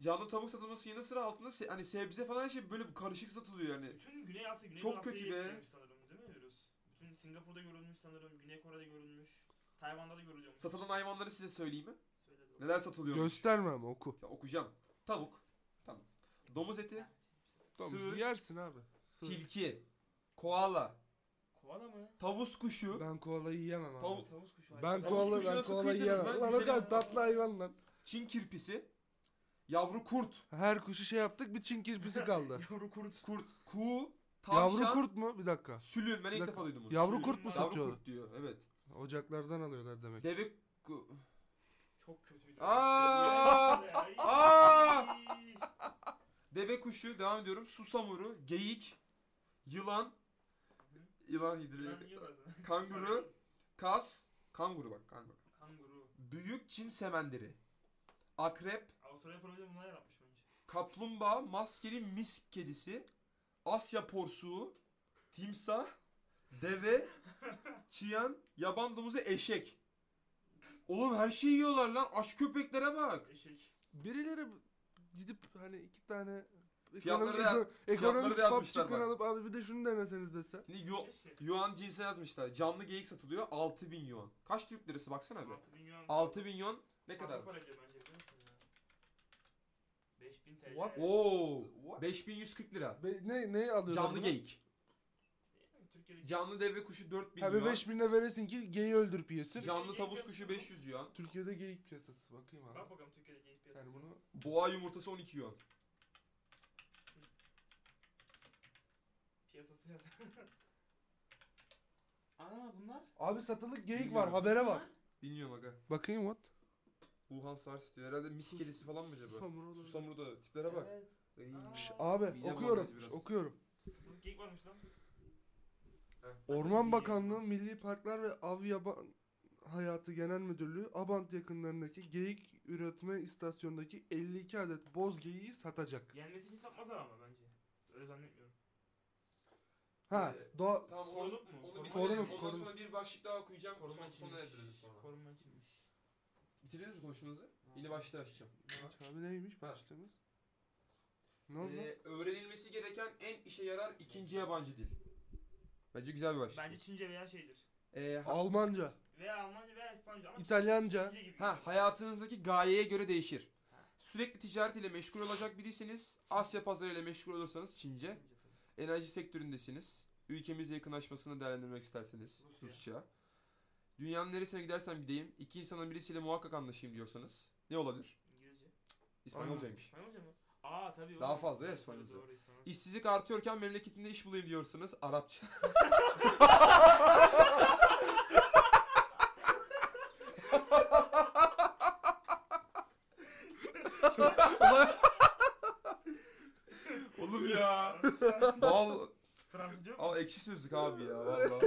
Speaker 1: canlı tavuk satılması yanı sıra altında se- hani sebze falan her şey böyle karışık satılıyor yani.
Speaker 3: Bütün Güney Asya, Güney
Speaker 1: Çok
Speaker 3: Asya'yı
Speaker 1: kötü be.
Speaker 3: etkilemiş sanırım değil mi virüs? Bütün Singapur'da görülmüş sanırım, Güney Kore'de görülmüş, Tayvan'da da görülüyormuş.
Speaker 1: Satılan hayvanları size söyleyeyim mi?
Speaker 3: Söyle doğru.
Speaker 1: Neler satılıyor?
Speaker 2: Gösterme ama oku.
Speaker 1: Ya okuyacağım. Tavuk. Tamam. Domuz eti.
Speaker 3: şey,
Speaker 2: Tamam,
Speaker 1: sığır.
Speaker 2: yersin abi. Sığır.
Speaker 1: Tilki. Koala.
Speaker 3: Koala mı?
Speaker 1: Tavus kuşu.
Speaker 2: Ben koalayı yiyemem abi.
Speaker 1: Tavuk-
Speaker 3: Tavus kuşu.
Speaker 2: Ben
Speaker 3: hayvan.
Speaker 1: Tavus
Speaker 2: koala
Speaker 1: kuşu
Speaker 2: ben
Speaker 1: nasıl
Speaker 2: koala
Speaker 1: kıydınız
Speaker 2: yiyemem.
Speaker 1: lan?
Speaker 2: Lan o
Speaker 1: Güzel
Speaker 2: kadar
Speaker 3: hayvan.
Speaker 2: tatlı hayvan lan.
Speaker 1: Çin kirpisi. Yavru kurt.
Speaker 2: Her kuşu şey yaptık bir çin kirpisi kaldı.
Speaker 3: Yavru kurt.
Speaker 1: Kurt. Kuğu. Tavşan.
Speaker 2: Yavru kurt mu? Bir dakika.
Speaker 1: Sülün. Ben ilk
Speaker 2: Bir dakika.
Speaker 1: defa duydum bunu.
Speaker 2: Yavru
Speaker 1: Sülün.
Speaker 2: kurt mu
Speaker 3: Yavru
Speaker 1: Yavru
Speaker 2: satıyorlar?
Speaker 1: kurt diyor. Evet.
Speaker 2: Ocaklardan alıyorlar demek.
Speaker 1: Deve. ku-
Speaker 3: Çok kötü bir
Speaker 1: Aa!
Speaker 3: Ay.
Speaker 1: Aa! Deve kuşu. Devam ediyorum. Susamuru. Geyik. Yılan. Yılan
Speaker 3: Yılan
Speaker 1: hidri.
Speaker 3: yiyorlar zaten.
Speaker 1: Kanguru. Kas. Kanguru bak. Kanguru.
Speaker 3: Kanguru.
Speaker 1: Büyük Çin semenderi. Akrep.
Speaker 3: Avustralya problemi bunlar yaratmış önce.
Speaker 1: Kaplumbağa, maskeli misk kedisi, Asya porsuğu, timsah, deve, çiyan, yaban domuzu, eşek. Oğlum her şeyi yiyorlar lan. Aç köpeklere bak.
Speaker 3: Eşek.
Speaker 2: Birileri gidip hani iki tane
Speaker 1: Fiyatları
Speaker 2: ekonomi-
Speaker 1: da-
Speaker 2: eko-
Speaker 1: fiyatları da
Speaker 2: ekonomik
Speaker 1: yazmışlar
Speaker 2: popçukun
Speaker 1: bak.
Speaker 2: alıp abi bir de şunu deneseniz dese.
Speaker 1: Şimdi yo-
Speaker 3: Keşke.
Speaker 1: yuan cinsi yazmışlar. Canlı geyik satılıyor. 6000 yuan. Kaç Türk lirası baksana be.
Speaker 3: 6000 yuan.
Speaker 1: 6000 yuan ne kadar?
Speaker 3: Fazla para ediyor bence biliyor musun ya? 5000 TL.
Speaker 2: What?
Speaker 1: Oo.
Speaker 2: What?
Speaker 1: 5140 lira.
Speaker 2: Be- ne ne alıyorlar?
Speaker 1: Canlı
Speaker 2: bunlar?
Speaker 1: geyik.
Speaker 3: Yani Türkiye'deki
Speaker 1: Canlı deve kuşu 4000
Speaker 2: Abi
Speaker 1: yuan.
Speaker 2: 5000 lira veresin ki geyi öldürüp yesin.
Speaker 3: Can-
Speaker 1: Canlı tavus kuşu 500 yuan.
Speaker 2: Türkiye'de geyik piyasası bakayım abi.
Speaker 3: Bak bakalım Türkiye'deki geyik piyasası.
Speaker 2: Yani bunu
Speaker 1: Boğa yumurtası 12 yuan.
Speaker 3: Piyasası yaz.
Speaker 4: Ana bunlar.
Speaker 2: Abi satılık geyik var
Speaker 1: Bilmiyorum.
Speaker 2: habere bak.
Speaker 1: Bilmiyorum aga.
Speaker 2: Bakayım what?
Speaker 1: Wuhan SARS diyor. Herhalde mis kedisi falan mı acaba?
Speaker 2: Susamur olur.
Speaker 1: Susamur da tiplere bak.
Speaker 4: Evet.
Speaker 1: Ey.
Speaker 2: Şş,
Speaker 3: Aa,
Speaker 2: Abi
Speaker 1: Midem
Speaker 2: okuyorum.
Speaker 1: bulandırıcı
Speaker 2: şş,
Speaker 1: biraz.
Speaker 2: okuyorum.
Speaker 3: Satılık geyik varmış lan.
Speaker 2: Orman Bakanlığı Milli Parklar ve Av Yaban Hayatı Genel Müdürlüğü Abant yakınlarındaki geyik üretme istasyonundaki 52 adet boz geyiği satacak.
Speaker 3: Yenmesini hiç satmazlar ama bence. Öyle zannetmiyorum.
Speaker 2: Ha,
Speaker 1: Ee,
Speaker 2: doğa
Speaker 1: Tamam onu,
Speaker 3: Korunup mu?
Speaker 1: onu bitirelim.
Speaker 2: Korunun,
Speaker 1: Ondan
Speaker 2: korunun.
Speaker 1: sonra bir başlık daha okuyacağım.
Speaker 3: Koruma
Speaker 1: Koruma sonra
Speaker 3: içinmiş.
Speaker 1: erdirelim sonra.
Speaker 3: Koruma içinmiş.
Speaker 1: Bitirdiniz mi konuşmanızı? Yeni başlığı açacağım.
Speaker 2: abi neymiş
Speaker 1: Ha.
Speaker 2: başlığımız? Ne oldu?
Speaker 1: Ee, öğrenilmesi gereken en işe yarar ikinci yabancı dil. Bence güzel bir şey. başlık.
Speaker 3: Bence Çince veya şeydir.
Speaker 1: Ee, ha,
Speaker 2: Almanca,
Speaker 3: Veya Almanca veya İspanyolca ama
Speaker 2: İtalyanca.
Speaker 3: Çince gibi.
Speaker 1: ha, hayatınızdaki gayeye göre değişir. Sürekli ticaret ile meşgul olacak biriyseniz, Asya pazarı ile meşgul olursanız Çince,
Speaker 3: Çince tabii.
Speaker 1: enerji sektöründesiniz, ülkemizle yakınlaşmasını değerlendirmek isterseniz
Speaker 3: Rusya.
Speaker 1: Rusça, dünyanın neresine gidersem gideyim, iki insanın birisiyle muhakkak anlaşayım diyorsanız ne olabilir?
Speaker 3: İngilizce.
Speaker 1: İspanyolcaymış.
Speaker 3: İspanyolca mı? Aa tabii.
Speaker 1: Daha
Speaker 3: oğlum.
Speaker 1: fazla ya
Speaker 3: Tabii,
Speaker 1: İspanyolca.
Speaker 3: Doğru İspanyolca.
Speaker 1: İşsizlik artıyorken memleketimde iş bulayım diyorsanız Arapça.
Speaker 3: diyorum.
Speaker 1: Ama ekşi sözlük abi ya valla.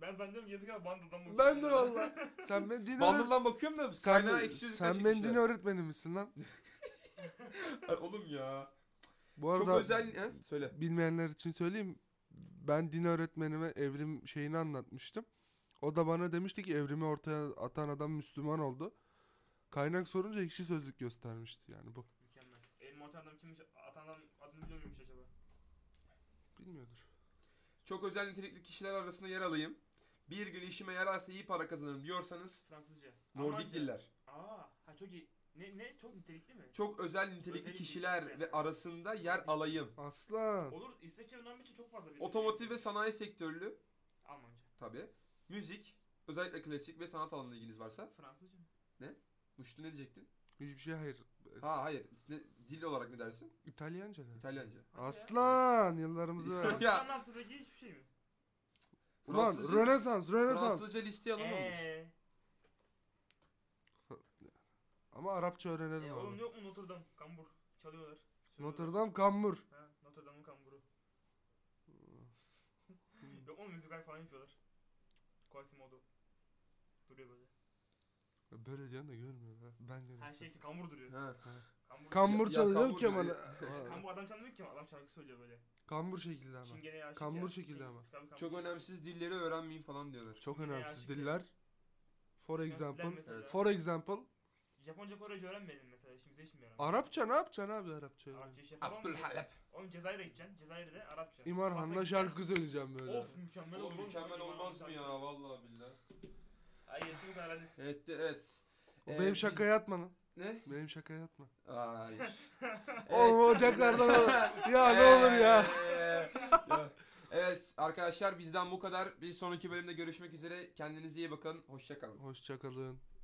Speaker 3: Ben sen diyorum yazık abi Bundle'dan mı?
Speaker 2: Ben de valla. Sen beni din öğret-
Speaker 1: Bundle'dan bakıyorum da
Speaker 2: Sen,
Speaker 1: kaynağı ekşi sözlükten
Speaker 2: sen beni din
Speaker 1: çekmişler.
Speaker 2: öğretmeni misin lan?
Speaker 1: Ay Oğlum ya.
Speaker 2: Bu arada
Speaker 1: Çok özel. He? Söyle.
Speaker 2: bilmeyenler için söyleyeyim. Ben din öğretmenime evrim şeyini anlatmıştım. O da bana demişti ki evrimi ortaya atan adam Müslüman oldu. Kaynak sorunca ekşi sözlük göstermişti yani bu.
Speaker 3: Mükemmel. Elma orta adam kimmiş? Atandan adını biliyor muymuş acaba?
Speaker 2: Bilmiyordur.
Speaker 1: Çok özel nitelikli kişiler arasında yer alayım. Bir gün işime yararsa iyi para kazanırım diyorsanız
Speaker 3: Fransızca.
Speaker 1: Nordik
Speaker 3: Almanca.
Speaker 1: diller.
Speaker 3: Aa, ha çok iyi. Ne, ne çok nitelikli mi?
Speaker 1: Çok özel nitelikli
Speaker 3: Özel
Speaker 1: kişiler
Speaker 3: kişiler.
Speaker 1: ve arasında yer alayım.
Speaker 2: Aslan.
Speaker 3: Olur. İsveççe ve Norveççe çok fazla. bilmiyorum.
Speaker 1: Otomotiv ve sanayi sektörlü
Speaker 3: Almanca.
Speaker 1: tabi. Müzik, özellikle klasik ve sanat alanında ilginiz varsa.
Speaker 3: Fransızca mı?
Speaker 1: Muştu ne diyecektin?
Speaker 2: Hiçbir şey hayır.
Speaker 1: Ha hayır. Ne, dil olarak ne dersin?
Speaker 2: İtalyanca ne?
Speaker 1: İtalyanca.
Speaker 3: Hadi ya.
Speaker 2: Aslan yıllarımızı
Speaker 1: Ya.
Speaker 2: ver.
Speaker 3: Fransızca anlattı peki hiçbir şey mi?
Speaker 2: Ulan
Speaker 1: Fransızca,
Speaker 2: Rönesans, Rönesans.
Speaker 1: Fransızca listeye alınmamış.
Speaker 3: Eee.
Speaker 2: Ama Arapça
Speaker 1: E,
Speaker 2: öğrenelim
Speaker 3: e, oğlum
Speaker 2: abi.
Speaker 3: yok mu Notre Dame? Kambur. Çalıyorlar. söylüyorlar.
Speaker 2: Notre Dame Kambur.
Speaker 3: Ha, Notre Dame'ın kamburu. Yok mu müzikal falan yapıyorlar. Quasimodo. Duruyor böyle.
Speaker 2: Böyle diyen de görmüyor ha. Ben de.
Speaker 3: Her şey işte kambur duruyor.
Speaker 1: Ha.
Speaker 3: Kambur.
Speaker 1: Ya-
Speaker 2: Kambur
Speaker 1: ya
Speaker 2: çalıyor
Speaker 1: kambur
Speaker 2: kemanı.
Speaker 1: böyle.
Speaker 3: kambur adam çalmıyor ki ama adam şarkı söylüyor böyle.
Speaker 2: Kambur şekilde ama.
Speaker 3: Çingeneye aşık
Speaker 2: Kambur
Speaker 3: ya.
Speaker 2: şekilde
Speaker 3: Çing-
Speaker 2: ama.
Speaker 3: tabii kambur
Speaker 1: Çok
Speaker 3: şekilde.
Speaker 1: önemsiz dilleri öğrenmeyin falan diyorlar.
Speaker 2: Çok
Speaker 3: Çingene
Speaker 2: önemsiz
Speaker 3: aşık ya.
Speaker 2: diller. For
Speaker 3: Çingene
Speaker 2: example.
Speaker 3: diller mesela.
Speaker 1: Evet.
Speaker 2: For example.
Speaker 3: Japonca Korece öğrenmedin mesela işimize hiç mi yaramıyor?
Speaker 2: Arapça ne yapacaksın abi Arapça?
Speaker 3: Arapça iş yapar
Speaker 1: Abdül
Speaker 3: mı?
Speaker 1: Halep.
Speaker 3: Oğlum Cezayir'e gideceksin. Cezayir'de Arapça.
Speaker 2: İmar Han'la
Speaker 3: Fas'a
Speaker 2: şarkı söyleyeceğim böyle.
Speaker 3: Of mükemmel olur.
Speaker 1: Oğlum
Speaker 3: oğlum.
Speaker 1: mükemmel
Speaker 3: İmar Han'la
Speaker 1: olmaz mı
Speaker 3: şarkı.
Speaker 1: ya vallahi billahi.
Speaker 3: Ay yetti bu kadar hadi.
Speaker 1: Evet de- evet.
Speaker 2: O
Speaker 1: Ee,
Speaker 2: benim
Speaker 1: biz-
Speaker 2: şakaya atma lan.
Speaker 1: Ne?
Speaker 2: Benim şakaya atma.
Speaker 1: Hayır.
Speaker 2: Oğlum ocaklardan al- Ya ne olur ya.
Speaker 1: ya. Evet arkadaşlar bizden bu kadar. Bir sonraki bölümde görüşmek üzere. Kendinize iyi bakın. Hoşçakalın.
Speaker 2: Hoşçakalın.